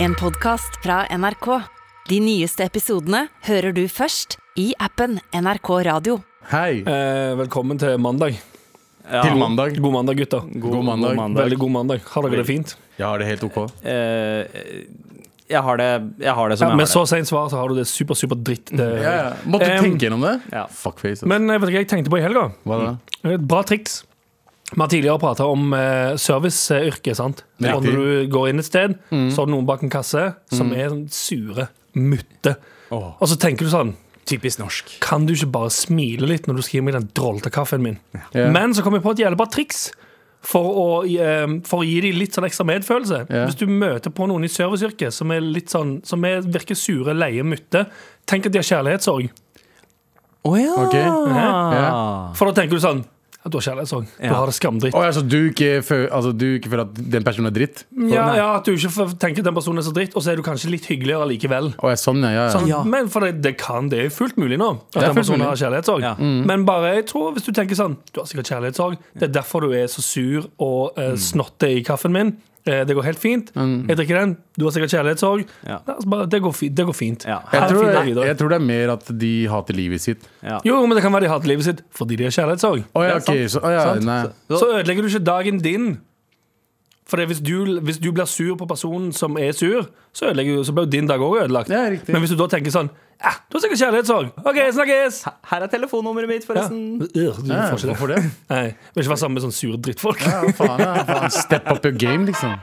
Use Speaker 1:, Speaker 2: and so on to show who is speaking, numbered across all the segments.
Speaker 1: En podcast fra NRK. De nyeste episodene hører du først i appen NRK Radio.
Speaker 2: Hei!
Speaker 3: Eh, velkommen til mandag.
Speaker 2: Til mandag.
Speaker 3: God mandag, gutter.
Speaker 2: God mandag.
Speaker 3: Veldig god mandag. Har dere det fint?
Speaker 2: Jeg har det helt ok.
Speaker 4: Eh, jeg, har det, jeg har det som
Speaker 3: Ja,
Speaker 4: jeg
Speaker 3: med
Speaker 4: har
Speaker 3: så sent svar så har du det super, super dritt. Det.
Speaker 2: Sånn Ja, ja. Måtte
Speaker 3: Em,
Speaker 2: tenke gjennom det.
Speaker 4: ja.
Speaker 2: Fuckface. ass.
Speaker 3: Men jeg vet ikke, hva jeg tenkte på i helga.
Speaker 2: Hva da?
Speaker 3: Et bra triks. Vi har tidligere prata om eh, serviceyrket. sant?
Speaker 2: Riktig. Mm.
Speaker 3: Og når du går inn et sted, så har du noen bak en kasse som er sånn sure mutte.
Speaker 2: Åh.
Speaker 3: Og så tenker du sånn
Speaker 4: det. Typisk norsk.
Speaker 3: Kan du ikke bare smile litt når du skal gi meg den drollete kaffen min?
Speaker 2: Ja.
Speaker 3: Men så kom jeg på et jævlig bra triks for å, eh, for å gi dem litt sånn ekstra medfølelse.
Speaker 2: Ja.
Speaker 3: Hvis du møter på noen i serviceyrket som, er litt sånn, som er, virker sure, leie, mutte, tenk at de har kjærlighetssorg.
Speaker 4: Å ja.
Speaker 2: Ok.
Speaker 4: Ja.
Speaker 3: For da tenker du sånn ja, Du har kjærlighetssorg. Du
Speaker 4: Ja.
Speaker 3: har det skamdritt.
Speaker 2: Å, ja, så du ikke, føler, altså, du ikke føler at den personen er dritt?
Speaker 3: Ja,
Speaker 4: Nei.
Speaker 3: ja, At du ikke f- tenker at den personen er så dritt, og så er du kanskje litt hyggeligere likevel.
Speaker 2: Å, ja, sånn, ja, ja. ja.
Speaker 3: Sånn,
Speaker 4: Ja.
Speaker 3: Men for det, det kan, det er fullt mulig nå. At
Speaker 2: er
Speaker 3: den
Speaker 2: fullt
Speaker 3: personen
Speaker 2: mulig.
Speaker 3: har kjærlighetssorg.
Speaker 4: Ja.
Speaker 3: Men bare jeg tror, hvis du tenker sånn Du har sikkert kjærlighetssorg. Det er derfor du er så sur og
Speaker 2: Mm.
Speaker 3: eh, snotte i kaffen min. Eh, det går helt fint. Jeg drikker den. Du har sikkert kjærlighetssorg.
Speaker 4: Ja.
Speaker 3: La oss bare- Det, går fi- det går fint.
Speaker 4: Ja.
Speaker 3: Her
Speaker 2: Jeg, tror
Speaker 3: finner jeg
Speaker 2: det,
Speaker 3: videre.
Speaker 2: jeg tror det er mer at de hater livet sitt.
Speaker 4: Ja.
Speaker 3: Jo, men det kan være de hater livet sitt fordi de har kjærlighetssorg.
Speaker 2: Å ja,
Speaker 4: Ja,
Speaker 2: ok. Så, å, ja,
Speaker 4: Sant.
Speaker 2: nei.
Speaker 3: Så ødelegger du ikke dagen din. For det, er hvis, du, hvis du blir sur på personen som er sur, så, ødelegger, du- så blir jo din dag òg ødelagt.
Speaker 2: Ja, riktig.
Speaker 3: Men hvis du da tenker sånn eh, Du har sikkert kjærlighetssorg. OK, snakkes!
Speaker 4: Her er telefonnummeret mitt,
Speaker 3: Ja.
Speaker 4: forresten.
Speaker 3: Øh, Du
Speaker 2: Ja,
Speaker 3: får ikke det.
Speaker 2: hvorfor det?
Speaker 3: Nei, jeg vil ikke være sammen med sånne sure drittfolk.
Speaker 2: Ja, faen, ja, faen. Step up your game, liksom.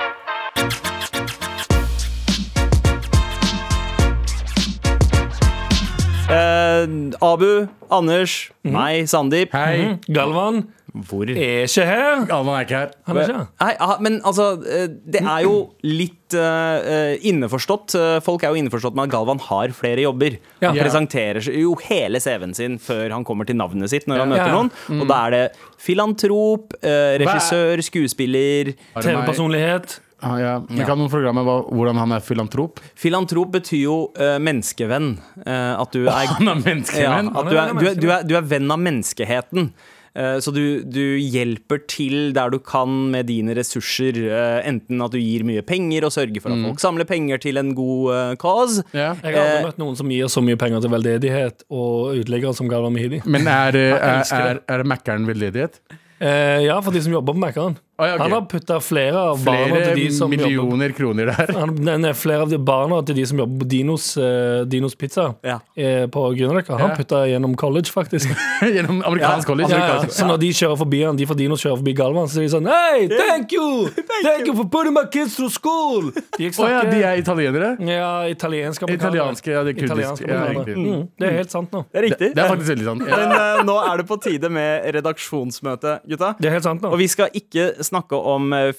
Speaker 4: Eh, Abu, Anders,
Speaker 3: Mhm.
Speaker 4: meg, Sandeep.
Speaker 2: Hei.
Speaker 3: Galvan
Speaker 4: Hvor?
Speaker 3: er ikke her.
Speaker 2: Alman er ikke her.
Speaker 3: Han er ikke her.
Speaker 4: Nei, ah, men altså, eh, det er jo litt eh, eh, innforstått. Eh, Folk er jo innforstått med at Galvan har flere jobber.
Speaker 3: Ja.
Speaker 4: Han
Speaker 3: Ja.
Speaker 4: presenterer seg jo hele CV-en sin før han kommer til navnet sitt når han
Speaker 3: Ja.
Speaker 4: møter
Speaker 3: Ja. Mm.
Speaker 4: noen. Og da er det filantrop, eh, regissør, skuespiller
Speaker 2: Er det meg?
Speaker 3: TV-personlighet.
Speaker 2: Ah, ja. Men Kan noen programme hva- hvordan han er filantrop?
Speaker 4: Filantrop betyr jo eh, menneskevenn. Eh, at du er
Speaker 2: Han er menneskevenn.
Speaker 4: Ja, at du, er, du, er, du, er, du er venn av menneskeheten. Eh, Så du, du hjelper til der du kan med dine ressurser. eh, Enten at du gir mye penger og sørger for at folk samler penger til en god eh, cause.
Speaker 2: Mm. Ja.
Speaker 3: Jeg har aldri
Speaker 4: Eh.
Speaker 3: møtt noen som gir så mye penger til veldedighet og uteliggere som Galvan Mehidi.
Speaker 2: Men er, eh, er,
Speaker 3: elsker
Speaker 2: er, er Mækkern veldedighet?
Speaker 3: Eh, ja, for de som jobber på Mækkern.
Speaker 2: Å, Ah, ja, ok.
Speaker 3: Han har putta flere av barna
Speaker 2: Flere
Speaker 3: til de som jobber
Speaker 2: millioner kroner der.
Speaker 3: han, nei, nei, flere av de barna til de som jobber på Dinos, eh, Dinos Pizza
Speaker 4: Ja.
Speaker 3: eh, på Grünerløkka. Han
Speaker 2: Ja.
Speaker 3: putta gjennom college, faktisk.
Speaker 2: Gjennom amerikansk college.
Speaker 3: Ja, ja.
Speaker 2: amerikansk-
Speaker 3: Så når de kjører forbi han, de fra Dinos kjører forbi Galvan, så sier de sånn Hey, thank you! Thank you for putting my kids through school! De
Speaker 2: Å ja,
Speaker 3: snakker-
Speaker 2: de er italienere?
Speaker 3: Ja, italiensk amerikanere.
Speaker 2: Italienske, ja, det er kurdisk.
Speaker 3: Italienske
Speaker 2: Ja,
Speaker 3: amerikanere.
Speaker 2: riktig.
Speaker 3: mm, det er helt sant nå.
Speaker 4: Det er
Speaker 2: det,
Speaker 4: riktig.
Speaker 2: det er faktisk veldig sant. Ja.
Speaker 4: Men eh, nå er det på tide med redaksjonsmøte, gutta.
Speaker 3: Det er helt sant nå.
Speaker 4: Og vi skal ikke snakke om eh,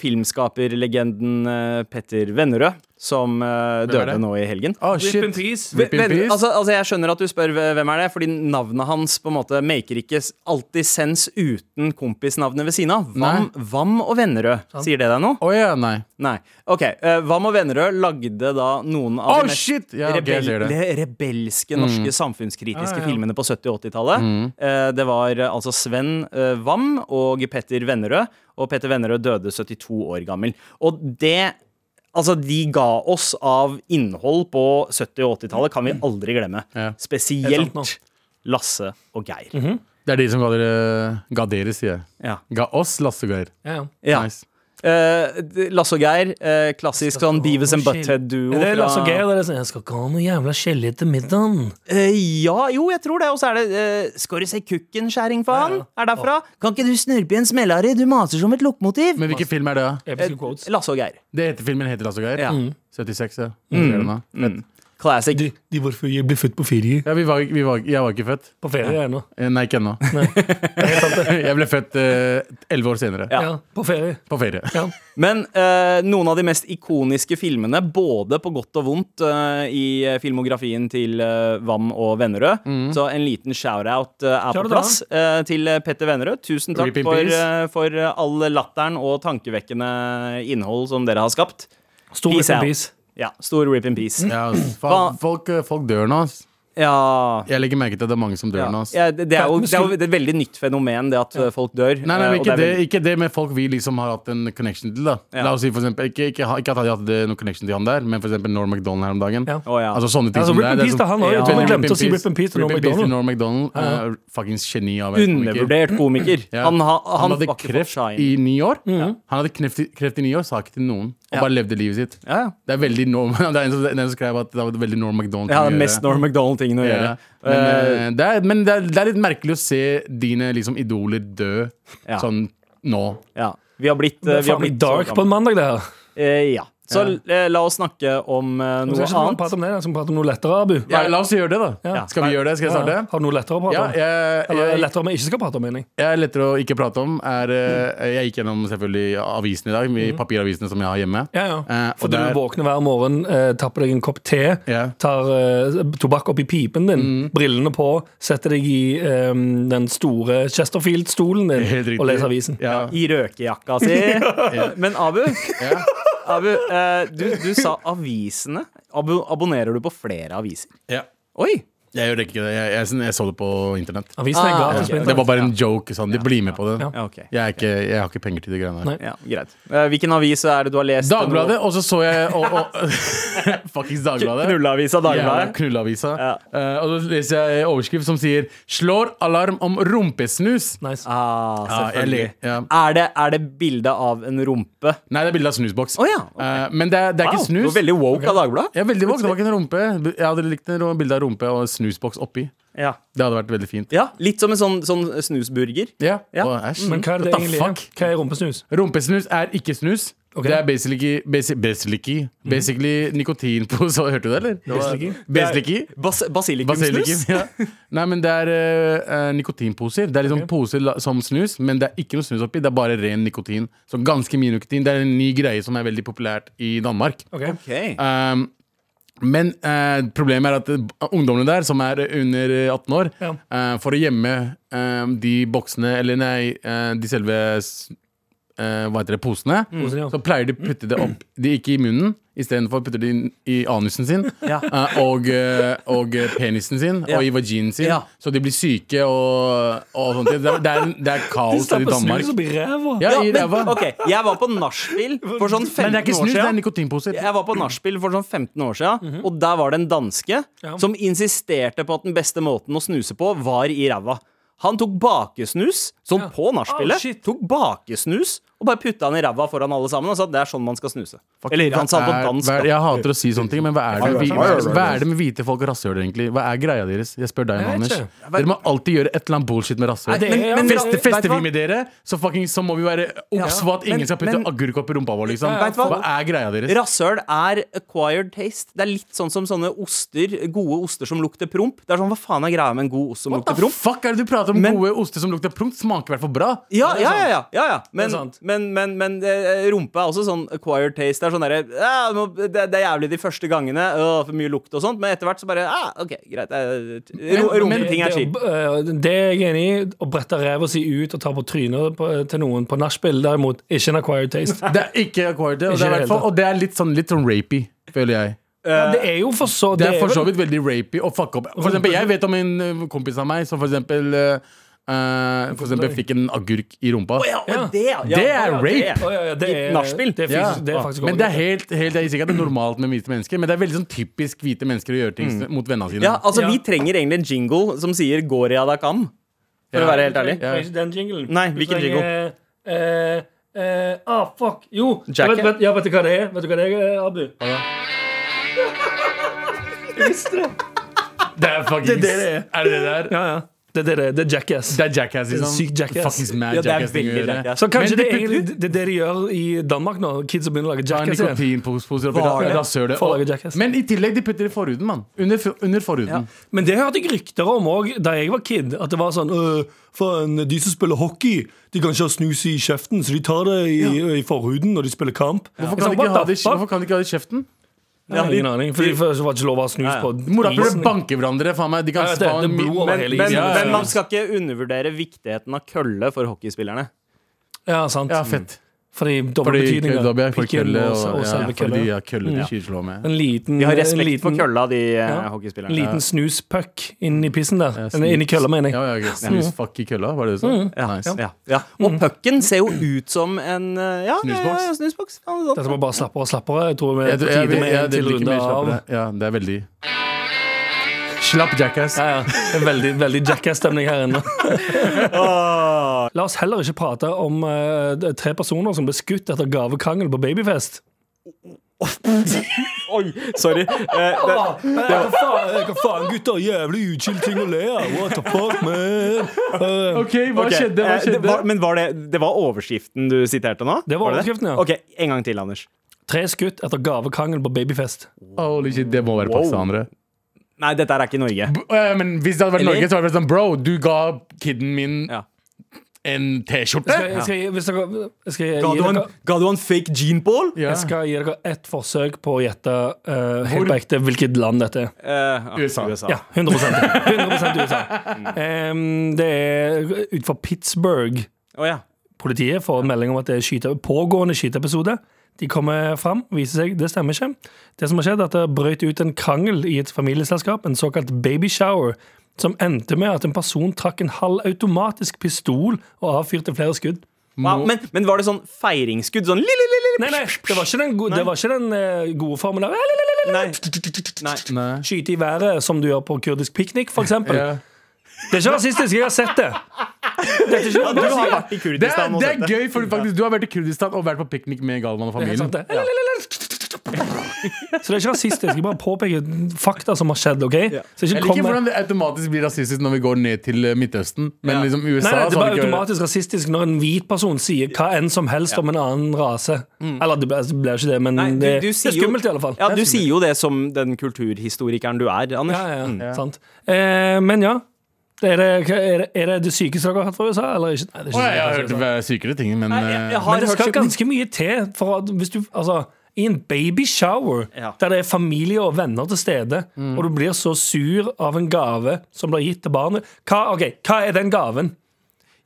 Speaker 4: filmskaperlegenden eh, Petter Vennerød, som eh,
Speaker 2: Hvem er
Speaker 4: døde
Speaker 2: det?
Speaker 4: nå i helgen.
Speaker 2: Å,
Speaker 3: Rip in
Speaker 2: shit.
Speaker 3: peace.
Speaker 2: Rip in
Speaker 4: Men,
Speaker 2: peace.
Speaker 4: altså, altså Jeg skjønner at du spør hve- hvem er det, fordi navnet hans på en måte maker ikke s- alltid sens uten kompisnavnet ved siden av. Vam, Vam og Vennerød. Sier det deg noe?
Speaker 2: Å ja, nei.
Speaker 4: Nei. OK. eh, Vam og Vennerød lagde da noen av
Speaker 2: Å,
Speaker 4: de mest
Speaker 2: shit! Ja, ok, jeg ser
Speaker 4: rebel
Speaker 2: det. Mm.
Speaker 4: de rebelske norske samfunnskritiske
Speaker 3: Ja, ja.
Speaker 4: filmene på 70- og 80-tallet. Eh, det var eh, altså Sven eh, Wam og Petter Vennerød. Og Petter Vennerød døde 72 år gammel. Og det Altså, de ga oss av innhold på 70- og 80-tallet kan vi aldri glemme.
Speaker 2: Ja.
Speaker 3: Helt sant
Speaker 4: Spesielt
Speaker 3: nå. Mhm.
Speaker 4: Lasse og Geir.
Speaker 2: Det er de som ga dere Ga dere, sier jeg.
Speaker 4: Ja.
Speaker 2: Ga oss Lasse og Geir.
Speaker 3: Ja, ja.
Speaker 4: ja.
Speaker 2: Nice.
Speaker 4: Eh, d- Lasse og Geir, eh, klassisk sånn Beavis and Butthead-duo.
Speaker 3: Det er Lasse og
Speaker 4: fra-
Speaker 3: Geir. Det er sånn, jeg skal ikke ha noe jævla gelé til middagen.
Speaker 4: Eh, ja, jo, jeg tror det. Og så er det eh, Skal du se kukken, skjæring faen? Er derfra? Kan ikke du snurpe i en smellari? Du maser som et lokomotiv. Eh,
Speaker 2: Men hvilken film er det, da?
Speaker 3: Episke quotes.
Speaker 4: Lasse og Geir.
Speaker 2: Det heter, filmen heter Lasse og Geir?
Speaker 4: Ja. Mm.
Speaker 2: 76, ja. Jeg ser den nå.
Speaker 4: Classic.
Speaker 3: De, de var før jeg ble født på ferie.
Speaker 2: ja vi var, vi var, jeg var ikke født.
Speaker 3: På ferie ennå.
Speaker 2: Eh, Nei, ikke ennå. jeg ble født eh, elleve år senere.
Speaker 4: Ja.
Speaker 3: Ja. på ferie.
Speaker 2: På ferie.
Speaker 3: Ja.
Speaker 4: Men eh, noen av de mest ikoniske filmene, både på godt og vondt, eh, i eh, filmografien til eh, Wam og Vennerød.
Speaker 2: Mm.
Speaker 4: Så en liten shout-out eh, er
Speaker 3: Shout-out,
Speaker 4: på plass eh, til eh, Petter Vennerød. Tusen takk
Speaker 2: Rip in
Speaker 4: for,
Speaker 2: peace.
Speaker 4: eh, for eh, all latteren og tankevekkende innhold som dere har skapt.
Speaker 3: Stor
Speaker 4: Peace
Speaker 3: peace
Speaker 4: out.
Speaker 3: peace.
Speaker 4: Ja, stor rip in peace.
Speaker 2: Ja, ass. faen,
Speaker 4: Hva-
Speaker 2: folk, eh, folk dør nå, ass.
Speaker 4: Ja,
Speaker 2: Jeg legger merke til at det er mange som dør nå. altså. ass.
Speaker 4: ja det, det, er jo, det er jo et veldig nytt fenomen, det at eh, folk dør.
Speaker 2: Nei, nei,
Speaker 4: eh,
Speaker 2: men
Speaker 4: og
Speaker 2: ikke
Speaker 4: er
Speaker 2: det,
Speaker 4: veldig-
Speaker 2: ikke det med folk vi liksom har hatt en connection til. da
Speaker 4: Ja.
Speaker 2: La oss si for eksempel, ikke, ikke, ha- ikke at jeg hadde hatt noen connection til han der, men for eksempel Norm MacDonald her om dagen.
Speaker 3: Ja.
Speaker 4: Å, ja.
Speaker 2: Altså sånne ting
Speaker 3: Altså,
Speaker 2: som
Speaker 3: rip
Speaker 2: det er, det er
Speaker 3: in peace
Speaker 2: sånn-
Speaker 3: til han også, jeg
Speaker 4: Ja.
Speaker 3: tror vi
Speaker 2: Rip in
Speaker 3: glemte å si
Speaker 2: peace.
Speaker 3: rip in peace til
Speaker 2: Rip in
Speaker 3: Norm
Speaker 2: peace til
Speaker 3: McDonald.
Speaker 2: Norm MacDonald. Uh, fuckings geni av en komiker.
Speaker 4: Undervurdert komiker.
Speaker 2: Ja.
Speaker 4: Han, ha, han,
Speaker 2: Han hadde
Speaker 4: var ikke
Speaker 2: kreft
Speaker 4: for shine.
Speaker 2: i ni år. Han hadde kreft i, kreft i ni år, sa ikke til noen. Og
Speaker 4: Ja.
Speaker 2: bare levde livet sitt.
Speaker 4: Ja, ja.
Speaker 2: Det er veldig Norm Det er en som, det er en som skrev at det var veldig Norm MacDonald.
Speaker 4: ja, det er mest Norm MacDonald-tingen å gjøre.
Speaker 2: Ja. Men, eh, det, er, men det, er, det er litt merkelig å se dine liksom, idoler dø
Speaker 4: Ja.
Speaker 2: sånn nå.
Speaker 4: Ja. Vi har blitt, eh,
Speaker 3: Det er
Speaker 4: vi har
Speaker 3: faen
Speaker 4: blitt
Speaker 3: meg dark
Speaker 4: så
Speaker 3: på
Speaker 4: gamle.
Speaker 3: en mandag, det her.
Speaker 4: Eh, ja. Så eh, la oss snakke om eh,
Speaker 3: Vi
Speaker 4: noe
Speaker 3: skal ikke
Speaker 4: annet.
Speaker 3: prate om det, vi skal prate om noe lettere, Abu.
Speaker 2: Ja, la oss gjøre det, da.
Speaker 3: Ja.
Speaker 2: Skal vi gjøre det? Skal jeg
Speaker 3: Ja,
Speaker 2: starte?
Speaker 3: Har du noe lettere å prate
Speaker 2: Ja,
Speaker 3: om?
Speaker 2: jeg,
Speaker 3: Eller
Speaker 2: jeg,
Speaker 3: lettere vi ikke skal prate om, mener jeg.
Speaker 2: jeg er lettere å ikke prate om. Er, eh, jeg gikk gjennom selvfølgelig avisen i dag, de
Speaker 3: Mm.
Speaker 2: papiravisene som jeg har hjemme.
Speaker 3: Ja, ja.
Speaker 2: Eh, og
Speaker 3: For du
Speaker 2: der-
Speaker 3: våkner hver morgen, eh, tapper deg en kopp te,
Speaker 2: Ja. Mm.
Speaker 3: tar eh, tobakk opp i pipen din, brillene på, setter deg i eh, den store Chesterfield-stolen
Speaker 2: Helt riktig.
Speaker 3: din og leser avisen.
Speaker 2: Ja.
Speaker 4: I røkejakka si. Men Abu,
Speaker 2: Ja.
Speaker 4: Abu eh, du, du sa avisene. Abu, abonnerer du på flere aviser?
Speaker 2: Ja.
Speaker 4: Oi!
Speaker 2: Jeg gjør ikke det. Jeg, jeg, jeg så det på internett.
Speaker 3: Avisen er
Speaker 4: Ah,
Speaker 2: Det
Speaker 3: gratis på
Speaker 4: ok.
Speaker 2: var
Speaker 3: internett.
Speaker 2: bare en joke. Sånn. De blir med på det.
Speaker 3: Ja.
Speaker 4: Ja, ok.
Speaker 2: Jeg, er ikke, jeg har ikke penger til de greiene der.
Speaker 3: Nei.
Speaker 4: Ja, greit. Eh, hvilken avis er det du har lest?
Speaker 2: Dagbladet, og så så jeg og, og, Fuckings Dagbladet.
Speaker 4: Knulleavisa
Speaker 2: Jævla
Speaker 4: Dagbladet.
Speaker 2: Knullavisa.
Speaker 4: Ja.
Speaker 2: Eh, og så leser jeg overskrift som sier 'Slår alarm om rumpesnus'.
Speaker 3: Nice.
Speaker 4: Ah,
Speaker 2: Ja, jeg
Speaker 4: selvfølgelig.
Speaker 2: le- ja.
Speaker 4: Er det, er det bilde av en rumpe?
Speaker 2: Nei, det er bilde av snusboks.
Speaker 4: Å ja, ok.
Speaker 2: Eh, men det er, det er ikke
Speaker 4: Du
Speaker 2: snus.
Speaker 4: var veldig woke av Dagbladet.
Speaker 2: Jeg er veldig våken, det var ikke en rumpe. Jeg hadde likt en ro- bilde av rumpe og snusboks oppi.
Speaker 4: Ja.
Speaker 2: Det hadde vært veldig fint.
Speaker 4: ja, Litt som en sånn, sånn snusburger.
Speaker 2: Ja,
Speaker 4: Ja.
Speaker 2: Å, æsj.
Speaker 3: Men hva er det
Speaker 2: What the
Speaker 3: egentlig?
Speaker 2: fuck?
Speaker 3: er? Hva er rumpesnus?
Speaker 2: Rumpesnus er ikke snus.
Speaker 3: Ok.
Speaker 2: Det er basically, basi- basically, basically nikotin på så Hørte du det, eller? Det var-
Speaker 3: Basilikum?
Speaker 2: Basilikum.
Speaker 4: Bas
Speaker 2: Basilikum,
Speaker 4: Basilikumsnus.
Speaker 2: ja. Nei, men det er eh, eh, nikotinposer. Det er liksom poser la- som snus, men det er ikke noe snus oppi. Det er bare ren nikotin. Så ganske mye nikotin. Det er en ny greie som er veldig populært i Danmark.
Speaker 3: Ok.
Speaker 4: Ok.
Speaker 2: Um, men eh, problemet er at eh, ungdommene der, som er under eh, 18 år,
Speaker 3: Ja.
Speaker 2: eh, for å gjemme eh, de boksene Eller nei, eh, de selve s- eh, Hva heter det, posene,
Speaker 4: Mm.
Speaker 3: Posen, ja.
Speaker 2: så pleier de å putte det opp De ikke i munnen, istedenfor putter de inn i anusen sin
Speaker 4: Ja.
Speaker 2: eh, og, eh, og eh, penisen sin
Speaker 4: Ja.
Speaker 2: og i vaginen sin,
Speaker 4: Ja.
Speaker 2: så de blir syke og, og sånt. Det er, det er, det er
Speaker 3: De
Speaker 2: kaos i
Speaker 3: stapper snus
Speaker 2: Danmark.
Speaker 3: opp i ræva.
Speaker 2: Ja, i
Speaker 4: men-
Speaker 2: ræva.
Speaker 4: ok, Jeg var på nachspiel for sånn 15
Speaker 2: Men det er ikke
Speaker 4: år
Speaker 2: snus, det er
Speaker 4: siden.
Speaker 2: nikotinposer.
Speaker 4: Jeg var på nachspiel for sånn 15 år siden, og der var det en danske
Speaker 3: Mhm. Ja.
Speaker 4: som insisterte på at den beste måten å snuse på, var i ræva. Han tok bakesnus, sånn
Speaker 3: Ja.
Speaker 4: på
Speaker 3: Ah,
Speaker 4: nachspielet,
Speaker 3: shit.
Speaker 4: tok bakesnus og bare putta han i ræva foran alle sammen og sa at det er sånn man skal snuse. Eller han sa det på
Speaker 2: Er-
Speaker 4: dansk.
Speaker 2: hva er-
Speaker 4: da.
Speaker 2: jeg hater å si sånne ting, men hva er det med
Speaker 3: Hva
Speaker 2: hvite,
Speaker 3: er det?
Speaker 2: hva er det med hvite folk og rasshøl, egentlig? Hva er greia deres? Jeg spør deg,
Speaker 3: Jeg vet
Speaker 2: Anders.
Speaker 3: ikke.
Speaker 2: Dere må alltid gjøre et eller annet bullshit med rasshøl.
Speaker 3: Nei, det
Speaker 2: Men-
Speaker 3: er-
Speaker 2: men
Speaker 3: men-
Speaker 2: Fester,
Speaker 4: vet du
Speaker 2: fester
Speaker 4: hva?
Speaker 2: vi med dere, så, fucking, så må vi være obs på at
Speaker 4: Ja.
Speaker 2: ingen skal putte
Speaker 4: Men-
Speaker 2: agurk opp i rumpa vår, liksom.
Speaker 4: Vet du hva?
Speaker 2: Hva er greia deres?
Speaker 4: Rasshøl er acquired taste. Det er litt sånn som sånne oster, gode oster som lukter promp. Det er sånn, Hva faen er greia med en god ost som
Speaker 2: What
Speaker 4: lukter
Speaker 2: the
Speaker 4: promp?
Speaker 2: fuck er det du prater om?
Speaker 4: Men-
Speaker 2: Gode oster som lukter promp, smaker i hvert fall bra.
Speaker 4: Ja, ja, ja, ja, ja, ja. Men,
Speaker 3: sant.
Speaker 4: men, men, men eh, rumpe er også sånn acquired taste. Det er sånn derre «Ah, nå- det, det er jævlig de første gangene, øh, for mye lukt og sånt, men etter hvert så bare ah, OK, greit. eh, ro- Rumpeting er chill.
Speaker 3: Det, eh, det er jeg enig i. Å brette ræva si ut og ta på trynet på, eh, til noen på nachspiel, derimot, ikke en acquired taste.
Speaker 2: Det er ikke acquired, og,
Speaker 3: Ikke
Speaker 2: det er i
Speaker 3: i
Speaker 2: hvert
Speaker 3: det
Speaker 2: fall-
Speaker 3: hele
Speaker 2: og det er litt sånn, litt sånn rapey, føler jeg.
Speaker 3: Ja, det er jo for så
Speaker 2: Det er for så
Speaker 3: vel-
Speaker 2: vidt veldig rapey å fucke opp. For eksempel, jeg vet om en ø, kompis av meg som for eksempel, ø, ø, for eksempel fikk en agurk i rumpa.
Speaker 4: Ja,
Speaker 3: Ja.
Speaker 4: og det, ja,
Speaker 2: Det er
Speaker 4: ja,
Speaker 2: rape.
Speaker 3: Å, ja, ja, det
Speaker 4: I
Speaker 3: er-
Speaker 4: nachspiel.
Speaker 3: Det er
Speaker 2: Ja.
Speaker 3: faktisk, det er faktisk
Speaker 2: Men det er helt, helt, jeg sier ikke at det er normalt med hvite mennesker, men det er veldig sånn typisk hvite mennesker å gjøre ting s- mot vennene sine.
Speaker 4: Ja,
Speaker 3: Mm.
Speaker 4: altså
Speaker 3: Ja.
Speaker 4: Vi trenger egentlig en jingle som sier 'Goria da kam'. For å være helt
Speaker 3: Du
Speaker 4: ærlig.
Speaker 3: trenger ikke den jinglen.
Speaker 4: Nei,
Speaker 3: Du
Speaker 4: hvilken
Speaker 3: trenger, eh, eh, ah, fuck. Jo,
Speaker 4: Jacket.
Speaker 3: vet, vet, ja, vet du hva det er? Vet du hva det er, eh, Abu?
Speaker 2: Det er fuckings
Speaker 3: det det er.
Speaker 2: Er det det der?
Speaker 3: Ja, ja. Det, det, det, det er jackass.
Speaker 2: Det er jackass, liksom.
Speaker 3: Det er sykt jackass.
Speaker 2: Fuckings mad
Speaker 4: Ja, det er
Speaker 2: jackass ting å
Speaker 4: veldig
Speaker 2: gjøre.
Speaker 4: jackass.
Speaker 3: så kanskje
Speaker 2: Men
Speaker 3: det er
Speaker 2: de putter-
Speaker 3: egentlig det, det er det de gjør i Danmark nå. Kids som begynner å lage
Speaker 2: Ta en
Speaker 3: jackass igjen.
Speaker 2: nikotinposer oppi
Speaker 4: Var det?
Speaker 2: rasshølet.
Speaker 3: For å lage
Speaker 2: og-
Speaker 3: jackass.
Speaker 2: Men i tillegg, de putter det i forhuden, mann. Under, f- under forhuden.
Speaker 3: Mm. Men det hørte jeg rykter om òg da jeg var kid. At det var sånn øh, Faen, de som spiller hockey, de kan ikke ha snus i kjeften, så de tar det i, i forhuden når de spiller kamp.
Speaker 2: Hvorfor, kan de ikke ha det, i- hvorfor kan de ikke ha det i kjeften?
Speaker 3: Jeg har ingen aning. Fordi først var det ikke lov å ha snus
Speaker 4: Ja, ja.
Speaker 3: på
Speaker 2: Mora burde
Speaker 3: isen.
Speaker 2: banke hverandre. Faen meg. De kan
Speaker 3: Ja, det-
Speaker 2: spa
Speaker 3: det
Speaker 2: en
Speaker 3: er blod
Speaker 2: mi-
Speaker 3: over
Speaker 4: Men,
Speaker 3: hele
Speaker 4: men,
Speaker 3: isen. Ja, ja, ja.
Speaker 4: men man skal ikke undervurdere viktigheten av kølle for hockeyspillerne.
Speaker 3: Ja, sant. Mm.
Speaker 2: Ja, fett.
Speaker 3: Fordi doble
Speaker 2: Fordi
Speaker 3: betydninger.
Speaker 2: kødda er for
Speaker 3: Pikken
Speaker 2: kølle.
Speaker 3: og, og
Speaker 2: ja, fordi de
Speaker 3: selve kølla.
Speaker 2: har kølle de
Speaker 4: Ja.
Speaker 2: skyter slå med.
Speaker 3: En liten,
Speaker 4: De har
Speaker 3: en
Speaker 4: respekt for
Speaker 3: liten-
Speaker 4: kølla, de eh,
Speaker 3: Ja.
Speaker 4: hockeyspillerne.
Speaker 3: En liten snuspuck inn i pissen der.
Speaker 2: Ja,
Speaker 3: Eller inn i kølla, mener jeg.
Speaker 2: Ja, ja, ok. Snus fuck i kølla, var det det du sa?
Speaker 4: Ja,
Speaker 2: Nice.
Speaker 4: ja, ja.
Speaker 3: Mm.
Speaker 4: Og pucken ser jo ut som en eh, ja,
Speaker 2: Snusboks.
Speaker 4: Ja, ja, snusboks. Ja, det er
Speaker 3: Dette
Speaker 4: sant.
Speaker 3: var bare slappere og slappere. Jeg tror vi er
Speaker 2: Jeg,
Speaker 3: på
Speaker 2: jeg, jeg,
Speaker 3: tide
Speaker 2: jeg,
Speaker 3: med
Speaker 2: det
Speaker 3: en til
Speaker 2: liker
Speaker 3: runde
Speaker 2: mer
Speaker 3: av
Speaker 2: slappere. Ja, det er veldig Slapp jackass.
Speaker 3: Ja, ja. Det er Veldig, veldig jackass-stemning her inne. La oss heller ikke prate om eh, det er tre personer som ble skutt etter gavekrangel på babyfest.
Speaker 4: Oi, sorry. Eh, det,
Speaker 3: Hva faen, gutter? Jævlig utskilt ting å le av. What the fuck, man?
Speaker 2: OK, hva
Speaker 4: ok,
Speaker 2: skjedde? Hva
Speaker 4: eh, det
Speaker 2: skjedde?
Speaker 4: var, men var det, det var overskriften du siterte nå?
Speaker 3: Det var overskriften, ja.
Speaker 4: Ok, En gang til, Anders.
Speaker 3: Tre skutt etter gavekrangel på babyfest.
Speaker 2: Holy shit, det må være pakistanere.
Speaker 4: Nei, dette her er ikke Norge.
Speaker 2: B- eh, Men hvis det hadde vært
Speaker 4: Eller-
Speaker 2: Norge, så hadde det vært sånn Bro, du ga kiden min
Speaker 4: Ja.
Speaker 2: en T-skjorte.
Speaker 3: Skal, jeg- skal, jeg- hvis dere, skal jeg,
Speaker 4: Ga
Speaker 3: gi
Speaker 4: du en,
Speaker 3: dere,
Speaker 4: ga du en fake jeanball?
Speaker 2: Ja.
Speaker 3: jeg skal gi dere ett forsøk på å gjette eh, helt på ekte hvilket land dette er.
Speaker 4: Eh,
Speaker 2: USA.
Speaker 3: Ja, Mm. 100 100 USA. Em, det er ut fra Pittsburgh.
Speaker 4: Å, ja.
Speaker 3: Politiet får en melding om at det er skyte, pågående skyteepisode. De kommer fram, viser seg, det stemmer ikke. Det som har skjedd er at det brøt ut en krangel i et familieselskap, en såkalt baby shower, som endte med at en person trakk en halvautomatisk pistol og avfyrte flere skudd.
Speaker 4: Wow, men, men var det sånn feiringsskudd? Sånn lille, lille, lille
Speaker 3: Nei, nei, det var ikke den, go det var ikke den eh, gode formen av
Speaker 4: Nei. Nei.
Speaker 2: Nei.
Speaker 3: skyte i været, som du gjør på kurdisk piknik, for eksempel.
Speaker 2: Ja.
Speaker 3: Det er ikke rasistisk, jeg har sett det. Dette er ikke
Speaker 4: Du har
Speaker 3: rasistisk.
Speaker 4: vært
Speaker 2: Det
Speaker 4: i
Speaker 2: er,
Speaker 4: Kurdistan og
Speaker 2: det
Speaker 4: sett
Speaker 2: er gøy, for faktisk, du har vært i Kurdistan og vært på piknik med Galvan og
Speaker 3: Det er helt
Speaker 2: familien.
Speaker 3: sant, det. Så det er ikke rasistisk. Jeg bare påpeker fakta som har skjedd. ok? Så ikke
Speaker 2: Jeg
Speaker 3: kom
Speaker 2: liker
Speaker 3: med-
Speaker 2: hvordan det automatisk blir rasistisk når vi går ned til eh, Midtøsten. Men
Speaker 4: Ja.
Speaker 2: liksom USA
Speaker 3: Nei, nei, Det
Speaker 2: så
Speaker 3: er
Speaker 4: sånn,
Speaker 2: hadde
Speaker 3: bare
Speaker 2: ikke-
Speaker 3: automatisk rasistisk når en hvit person sier hva enn som helst om en annen rase. Eller det ble, det ble ikke det, men
Speaker 4: Mm. Nei, du-
Speaker 3: det,
Speaker 4: du
Speaker 3: det
Speaker 4: sier
Speaker 3: er
Speaker 4: jo-
Speaker 3: skummelt i alle fall.
Speaker 4: Ja,
Speaker 3: Det er
Speaker 4: du
Speaker 3: skummelt.
Speaker 4: sier jo det som den kulturhistorikeren du er, Anders.
Speaker 3: ja, ja, ja, sant. Eh, men ja. Er det, er, det, er det det sykeste dere har hørt fra USA, eller ikke? Nei, det
Speaker 2: Å,
Speaker 3: er ikke
Speaker 2: jeg har
Speaker 3: det
Speaker 2: hørt
Speaker 3: sykeste.
Speaker 2: eh, sykere ting, men
Speaker 4: jeg-
Speaker 2: eh,
Speaker 4: jeg har-
Speaker 3: Men det skal
Speaker 4: hørt-
Speaker 3: ganske mye til for at hvis du Altså, i en babyshower
Speaker 4: Ja.
Speaker 3: der det er familie og venner til stede, og du blir så sur av en gave som blir gitt til barnet hva, ok, hva er den gaven?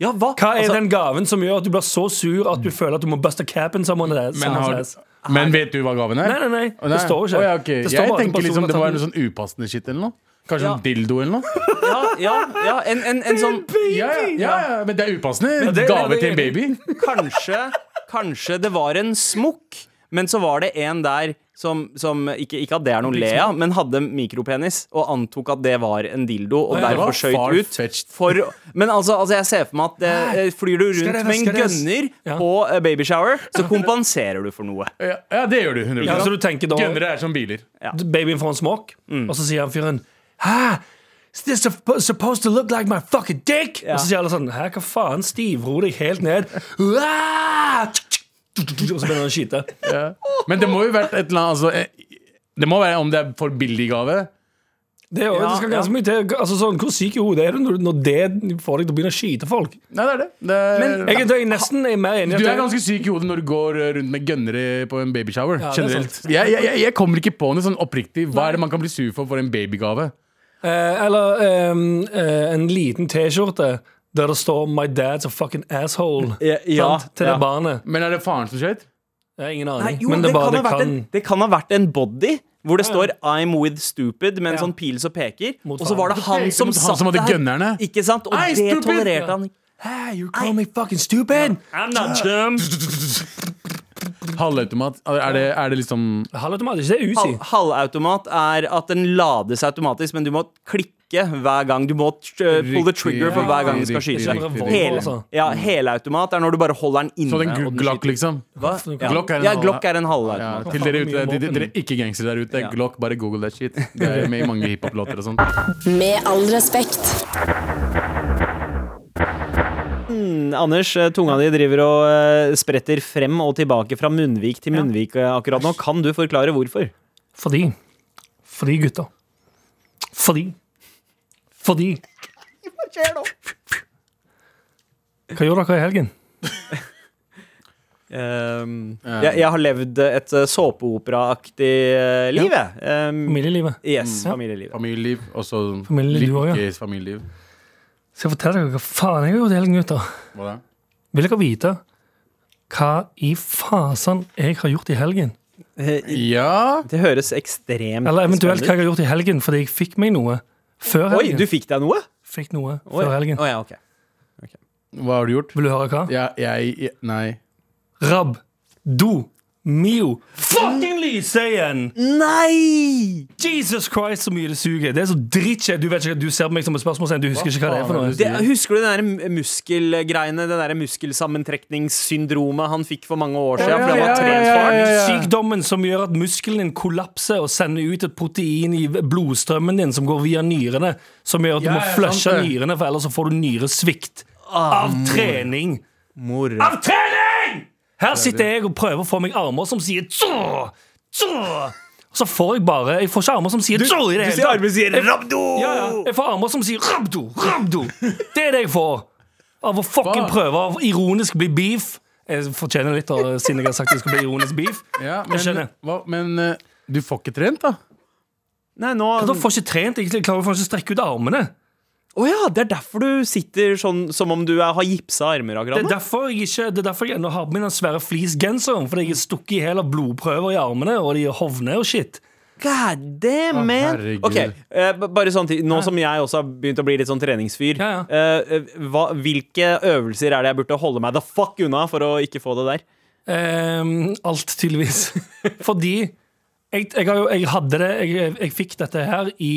Speaker 4: Ja, hva?
Speaker 3: Hva er
Speaker 4: Altså,
Speaker 3: den gaven som gjør at du blir så sur at du føler at du må buste capen someone else?
Speaker 2: men,
Speaker 3: someone
Speaker 2: har,
Speaker 3: else?
Speaker 2: men vet du hva gaven er?
Speaker 3: Nei, nei, nei.
Speaker 2: Å,
Speaker 3: Det står ikke.
Speaker 2: Å, ja, ok.
Speaker 3: Det står
Speaker 2: Jeg
Speaker 3: bare at
Speaker 2: tenker
Speaker 3: personen
Speaker 2: liksom det
Speaker 3: har
Speaker 2: må
Speaker 3: tatt
Speaker 2: være noe sånn upassende shit eller noe. Kanskje
Speaker 4: Ja.
Speaker 2: en dildo eller noe.
Speaker 4: Ja, ja, ja en, en, en sånn
Speaker 2: Ja, ja, ja, ja, men det er upassende.
Speaker 3: Men det-
Speaker 2: Gave
Speaker 3: det-
Speaker 2: til en baby.
Speaker 4: Kanskje, kanskje det var en smokk, men så var det en der som, som ikke, ikke at det er noe le av, men hadde mikropenis og antok at det var en dildo, og
Speaker 3: Å, ja, det
Speaker 2: var
Speaker 4: derfor skøyt ut.
Speaker 2: far-fetched.
Speaker 4: For, men altså, altså, jeg ser for meg at eh, flyr du
Speaker 3: Skal det-
Speaker 4: rundt med en
Speaker 3: skal det-
Speaker 4: gønner
Speaker 3: Ja.
Speaker 4: på eh, babyshower, så kompenserer du for noe.
Speaker 2: Ja, ja, det gjør du. 100
Speaker 3: Ja, så du tenker da
Speaker 2: Gønnere er som biler.
Speaker 3: Babyen får en smock,
Speaker 4: Mm.
Speaker 3: og så sier han fyren Hæ? Is this supp- supposed to look like my fucking dick? Og så sier alle sånn Hæ, hva faen? Stivro deg helt ned. Uah! Og så begynner han å skyte.
Speaker 2: Men det må jo vært et eller annet altså, eh, Det må være om det er for billig gave.
Speaker 3: Det, er jo- det skal
Speaker 4: Ja,
Speaker 3: ganske mye til. Altså sånn, Hvor syk i hodet er du når, du- når det får deg til å begynne å skyte folk? Eh,
Speaker 2: Nei, det er det. det er,
Speaker 3: Jeg, er- jeg er nesten jeg er mer enig i at
Speaker 2: du er
Speaker 3: det-
Speaker 2: ganske syk i hodet når du går eh, rundt med gønnere på en babyshower.
Speaker 3: Ja, det er
Speaker 2: generelt. Jeg, jeg, jeg- jeg kommer ikke på noe sånn oppriktig. Hva er det man kan bli sur for for en babygave?
Speaker 3: Eh, eller ehm, eh, en liten T-skjorte der det står 'My dad's a fucking asshole'
Speaker 4: Ja, ja,
Speaker 3: sant? til
Speaker 4: ja.
Speaker 3: det barnet.
Speaker 2: Men er det faren som skøyt?
Speaker 3: Jeg har ingen aning.
Speaker 4: Nei, jo,
Speaker 3: men det, er
Speaker 4: det,
Speaker 3: bare,
Speaker 4: kan
Speaker 3: det
Speaker 4: ha vært en,
Speaker 3: kan
Speaker 4: det kan ha vært en body hvor det står 'I'm with stupid' med en
Speaker 3: Ja.
Speaker 4: sånn pil som peker.
Speaker 3: Mot
Speaker 4: Og så var det han
Speaker 2: peker
Speaker 4: som
Speaker 2: mot han
Speaker 4: satt
Speaker 2: som hadde
Speaker 4: der.
Speaker 2: gønnerne.
Speaker 4: Ikke sant? Og
Speaker 2: Ei,
Speaker 4: det
Speaker 2: stupid!
Speaker 4: tolererte han.
Speaker 3: Hey, you call me fucking stupid!
Speaker 4: I'm not dumb.
Speaker 2: Halvautomat? Er det, er det liksom
Speaker 3: Halvautomat, ikke det? Uzi.
Speaker 4: Hal halvautomat er at den lades automatisk, men du må klikke hver gang. Du må t- uh, pull the
Speaker 2: Riktig,
Speaker 4: trigger for hver gang du skal
Speaker 2: riktig,
Speaker 4: skyte.
Speaker 2: riktig,
Speaker 3: riktig.
Speaker 4: Hele,
Speaker 3: Altså.
Speaker 4: ja, helautomat er når du bare holder den inne.
Speaker 2: Så det er
Speaker 4: og
Speaker 2: en
Speaker 4: den
Speaker 2: Glock,
Speaker 4: skyter.
Speaker 2: liksom?
Speaker 4: Hva? Ja.
Speaker 2: Glock er en
Speaker 4: ja,
Speaker 2: halv-
Speaker 4: Glock er en
Speaker 2: Ja,
Speaker 4: halvautomat.
Speaker 2: til dere,
Speaker 3: faen,
Speaker 2: ute,
Speaker 3: mye
Speaker 2: dere,
Speaker 3: våpen.
Speaker 2: dere ikke-gangstere der ute,
Speaker 4: Ja.
Speaker 2: Glock, bare google that shit. Det er med i mange hiphop-låter og sånn.
Speaker 1: Med all respekt.
Speaker 4: Mm, Anders, eh, tunga di driver og eh, spretter frem og tilbake fra munnvik til munnvik eh, akkurat nå. Kan du forklare hvorfor?
Speaker 3: Fordi Fordi, gutter. Fordi. Fordi. Hva gjorde dere i helgen?
Speaker 4: Ehm, jeg, jeg har levd et eh, såpeoperaaktig eh, liv, jeg. Ehm,
Speaker 3: Familielivet.
Speaker 4: yes, familielivet.
Speaker 2: Familieliv, og så
Speaker 3: Familieliv også, ja.
Speaker 2: lykkes familieliv.
Speaker 3: Skal jeg fortelle dere hva faen jeg har gjort i helgen, gutter?
Speaker 2: Hva da?
Speaker 3: Vil dere vite? hva i fasen jeg har gjort i helgen.
Speaker 4: Eh,
Speaker 2: Ja
Speaker 4: Det høres ekstremt
Speaker 3: Eller eventuelt hva jeg
Speaker 4: spennende ut.
Speaker 3: har gjort i helgen, fordi jeg fikk meg noe før
Speaker 4: Oi, du
Speaker 3: helgen.
Speaker 4: fikk deg noe?
Speaker 3: Fikk noe
Speaker 4: Oi.
Speaker 3: før helgen.
Speaker 4: Å ja, ok.
Speaker 2: Hva har du gjort?
Speaker 3: Vil du høre hva?
Speaker 2: Ja, jeg jeg- Nei.
Speaker 3: Rab, do, mio. Fucking lyse igjen!
Speaker 4: Mm. Nei!
Speaker 3: Jesus Christ, så mye det suger. Det er så dritkjedelig. Du vet ikke, du ser på meg som et spørsmålstegn. Du husker ikke hva det er for
Speaker 2: faen er
Speaker 3: noe.
Speaker 2: det
Speaker 4: Det, husker du den der muskelgreiene, det der muskelsammentrekningssyndromet han fikk for mange år siden?
Speaker 2: Ja,
Speaker 4: fordi han
Speaker 2: ja,
Speaker 4: var
Speaker 2: ja,
Speaker 4: trent
Speaker 2: ja,
Speaker 4: for hardt?
Speaker 2: ja, ja.
Speaker 3: Sykdommen som gjør at muskelen din kollapser og sender ut et protein i blodstrømmen din som går via nyrene, som gjør at du
Speaker 2: Ja,
Speaker 3: må
Speaker 2: ja,
Speaker 3: flushe
Speaker 2: sant det.
Speaker 3: nyrene, for ellers så får du nyresvikt. Av trening!
Speaker 4: Mor.
Speaker 2: Ah,
Speaker 3: Av trening! Her sitter jeg og prøver å få meg armer som sier tjå, tjå. Og så får jeg bare Jeg får ikke armer som sier tjå i det
Speaker 4: Du
Speaker 3: hele
Speaker 4: sier
Speaker 3: tatt.
Speaker 4: arbeidsgiver Rabdo!
Speaker 3: Ja, ja. Jeg får armer som sier rabdo, rabdo. Det er det jeg får av å fucking
Speaker 2: Hva?
Speaker 3: prøve å ironisk bli beef. Jeg fortjener litt av siden jeg har sagt jeg skal bli ironisk beef.
Speaker 2: Ja,
Speaker 3: Jeg skjønner.
Speaker 2: men hva, men eh, du får ikke trent, da?
Speaker 4: Nei, nå
Speaker 3: Da får jeg ikke trent, egentlig. Jeg klarer faen ikke å strekke ut armene.
Speaker 4: Å ja, det er derfor du sitter sånn som om du er, har gipsa armer
Speaker 3: Det
Speaker 4: akkurat
Speaker 3: er
Speaker 4: nå?
Speaker 3: derfor jeg ikke Det er derfor jeg ennå har på meg den svære fleecegenseren. Fordi jeg er stukket i hæl av blodprøver i armene, og de hovner og shit.
Speaker 4: God damn,
Speaker 2: Å,
Speaker 4: man!
Speaker 2: herregud.
Speaker 4: Ok, eh, b- bare sånn til, Nå som jeg også har begynt å bli litt sånn treningsfyr,
Speaker 3: Ja, ja.
Speaker 4: eh, eh, hva, hvilke øvelser er det jeg burde holde meg the fuck unna for å ikke få det der?
Speaker 3: Ehm, alt, tydeligvis. Fordi jeg, jeg, har jo, jeg hadde det Jeg, jeg fikk dette her i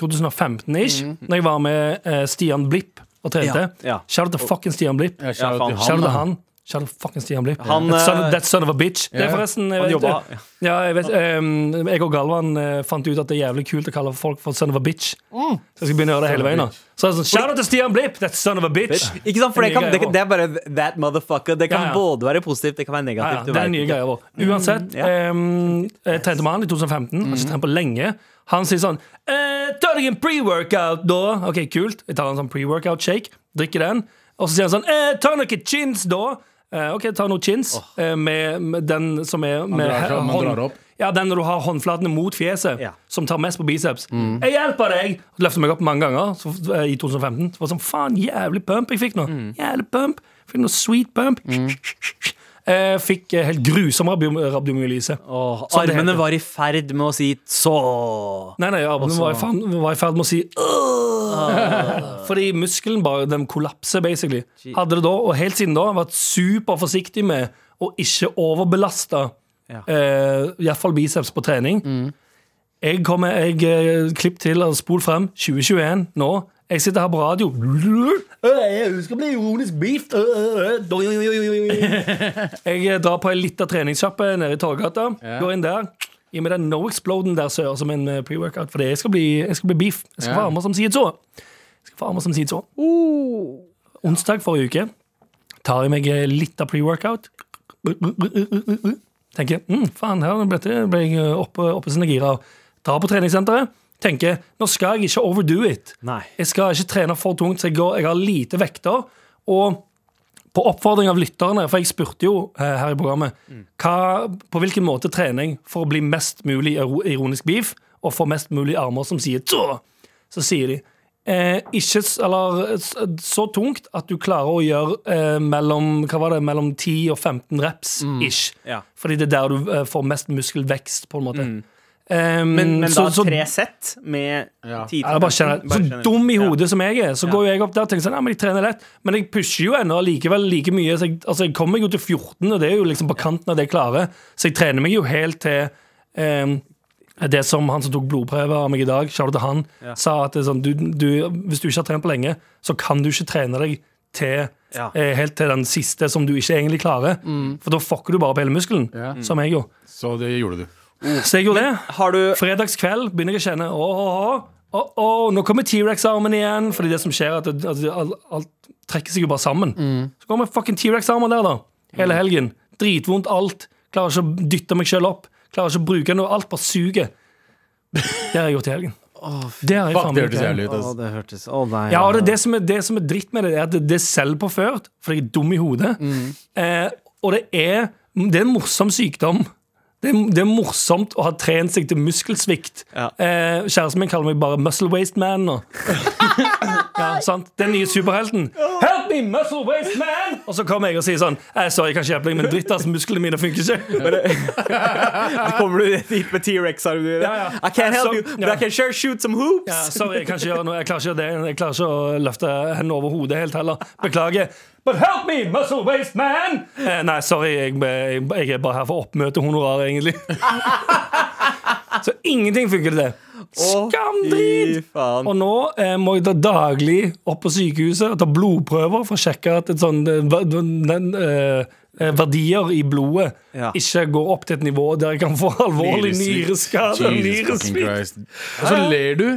Speaker 3: 2015-ish, Når jeg var med eh, Stian Blipp og trente.
Speaker 4: Mhm. Ja, ja.
Speaker 3: Shout out til fucking Stian Blipp.
Speaker 2: Jeg shout
Speaker 4: Ja,
Speaker 2: out til
Speaker 4: faen.
Speaker 3: Shout out til
Speaker 2: da.
Speaker 3: han. Shout out fucking Stian Blipp.
Speaker 4: Han,
Speaker 3: That son,
Speaker 4: eh,
Speaker 3: that son of a bitch. Det er
Speaker 2: ja.
Speaker 3: forresten eh, jeg
Speaker 4: Han
Speaker 3: vet-
Speaker 4: jobba-
Speaker 3: Ja, jeg, vet, ehm, jeg og Galvan eh, fant ut at det er jævlig kult å kalle folk for son of a bitch. Så jeg skal begynne å gjøre det hele
Speaker 2: Son of a
Speaker 3: veien. nå.
Speaker 2: bitch.
Speaker 3: Så jeg er sånn, Shout out til Stian Blipp, that son of a bitch.
Speaker 4: Ikke sant, for det,
Speaker 3: Det er
Speaker 4: kan,
Speaker 3: mye
Speaker 4: det,
Speaker 3: greier
Speaker 4: det er bare that motherfucker. Det kan
Speaker 3: Ja, ja.
Speaker 4: både være positivt, det kan
Speaker 3: Ja,
Speaker 4: være
Speaker 3: ja,
Speaker 4: negativt. du
Speaker 3: det er
Speaker 4: vet
Speaker 3: nye
Speaker 4: ikke.
Speaker 3: greier vår.
Speaker 2: Mm,
Speaker 3: Uansett,
Speaker 4: ja.
Speaker 3: ehm, jeg trente med han i 2015, har ikke trent på lenge. Han sier sånn eh, Ta deg en pre-workout, da. Ok, kult. Jeg tar en sånn pre-workout shake, drikker den. Og så sier han sånn eh, Ta noen chins, da. Eh, ok, ta noen chins eh, med, med den som er med
Speaker 2: drar seg- man
Speaker 3: hånd-
Speaker 2: drar opp.
Speaker 3: Ja, den når du har håndflatene mot fjeset,
Speaker 4: Ja.
Speaker 3: som tar mest på biceps. Jeg hjelper deg! Løfter meg opp mange ganger så, eh, i 2015. Så var det sånn, faen, jævlig pump jeg fikk nå. Jævlig pump. Fikk noe sweet pump. Eh, fikk eh, helt grusom rabio- rabdomyolyse.
Speaker 4: Åh,
Speaker 3: Som det
Speaker 4: armene
Speaker 3: heter.
Speaker 4: var i ferd med å si så
Speaker 3: Nei, nei, armen var i fan- var i ferd med å si «Åh!» Fordi muskelen bare, den kollapser, basically. Hadde det da, og helt siden da, vært superforsiktig med å ikke overbelaste
Speaker 4: Ja.
Speaker 3: eh, iallfall biceps på trening. Jeg kommer, jeg eh, klipp til, altså spol frem, 2021, nå. Jeg sitter her på radio. Jeg skal bli ironisk beef. Jeg eh, drar på ei lita treningssjappe nede i Torgata. Går inn der. Gi meg den No Exploden der sør som en eh, pre-workout, for jeg skal bli, jeg skal bli beef. Jeg skal
Speaker 2: Ja.
Speaker 3: få armer som sier så. Jeg skal få armer som sier så. Onsdag forrige uke tar jeg meg eh, litt av pre-workout. Tenker mm, faen, her ble det- ble jeg eh, oppe, oppe sine gira. Drar på treningssenteret. Tenker nå skal jeg ikke overdo it.
Speaker 4: Nei.
Speaker 3: Jeg skal ikke trene for tungt, så jeg, går, jeg har lite vekter. Og på oppfordring av lytterne, for jeg spurte jo eh, her i programmet hva, På hvilken måte trening for å bli mest mulig iro- ironisk beef og få mest mulig armer som sier tå, så sier de eh, ikke s- eller s- så tungt at du klarer å gjøre eh, mellom, hva var det, mellom 10 og 15 reps ish.
Speaker 4: Mm. Ja. Mm.
Speaker 3: Fordi det er der du eh, får mest muskelvekst, på en måte. Eh,
Speaker 4: Men, men
Speaker 3: så-
Speaker 4: da
Speaker 3: så-
Speaker 4: tre sett med
Speaker 2: Ja.
Speaker 4: ti til
Speaker 3: ja, det er bare
Speaker 4: femten.
Speaker 3: generelt. Så
Speaker 4: Bare generelt.
Speaker 3: dum i
Speaker 4: Ja.
Speaker 3: hodet som jeg er, så går jo jeg opp der og tenker sånn, ja, men jeg trener lett. Men jeg pusher jo ennå likevel like mye. Så jeg, altså, jeg kommer meg jo til 14, og det er jo liksom på kanten av det jeg klarer. Så jeg trener meg jo helt til ehm, det som han som tok blodprøve av meg i dag, shout out til han, sa at det er sånn, du, du, hvis du ikke har trent på lenge, så kan du ikke trene deg til
Speaker 4: Ja. Mm.
Speaker 3: eh, helt til den siste som du ikke egentlig klarer. For da fucker du bare opp hele muskelen,
Speaker 2: Ja.
Speaker 3: som jeg gjorde.
Speaker 2: Så det gjorde du.
Speaker 4: Mm.
Speaker 3: Så jeg gjorde det.
Speaker 4: Har du
Speaker 3: Fredagskveld begynner jeg å kjenne Åh, åh, åh, åh, åh, nå kommer T-rex-armen igjen. Fordi det som skjer, er at det, at det, alt, alt trekker seg jo bare sammen.
Speaker 2: Mm.
Speaker 3: Så kommer fucking T-rex-armen der, da. Hele helgen. Dritvondt alt. Klarer ikke å dytte meg sjøl opp. Klarer ikke å bruke noe. Alt bare suger. Det har jeg gjort i helgen. Det har jeg
Speaker 2: Fuck, det
Speaker 3: faen meg gjort i
Speaker 2: hørtes
Speaker 3: helgen.
Speaker 2: jævlig ut. ass.
Speaker 4: det hørtes Å, nei.
Speaker 3: Ja, og det, er det, som er, det som er dritt med det, er at det, det er selvpåført, for jeg er dum i hodet. Eh, og det er, det er en morsom sykdom. Det er, det er morsomt å ha trent seg til muskelsvikt.
Speaker 4: Ja.
Speaker 3: Eh, kjæresten min kaller meg bare muscle waste man nå. ja, sant? Den nye superhelten. Help be muscle waste man! Og så kommer jeg og sier sånn eh, Sorry, jeg kan ikke hjelpe deg, men dritt, ass, musklene mine funker ikke.
Speaker 4: Da kommer du dit med T-rex-arm.
Speaker 3: Ja, ja.
Speaker 4: I can't help
Speaker 3: Så-
Speaker 4: you, but
Speaker 3: ja.
Speaker 4: I can sure shoot some hoops.
Speaker 3: Ja, sorry, jeg kan ikke gjøre noe. Jeg klarer ikke, det. Jeg klarer ikke å løfte hendene over hodet helt heller. Beklager. But help me, muscle waste man! Eh, nei, sorry, jeg, jeg, jeg er bare her for oppmøtehonorar, egentlig. Så ingenting funker til det. Skamdrit!
Speaker 4: Fy faen.
Speaker 3: Og nå eh, må jeg da daglig opp på sykehuset og ta blodprøver for å sjekke at et sånn, eh, ver- den, eh, eh, verdier i blodet
Speaker 4: Ja.
Speaker 3: ikke går opp til et nivå der jeg kan få alvorlig nyreskade.
Speaker 2: Jesus fucking
Speaker 3: Nyresvikt.
Speaker 2: Christ. Og så ler du.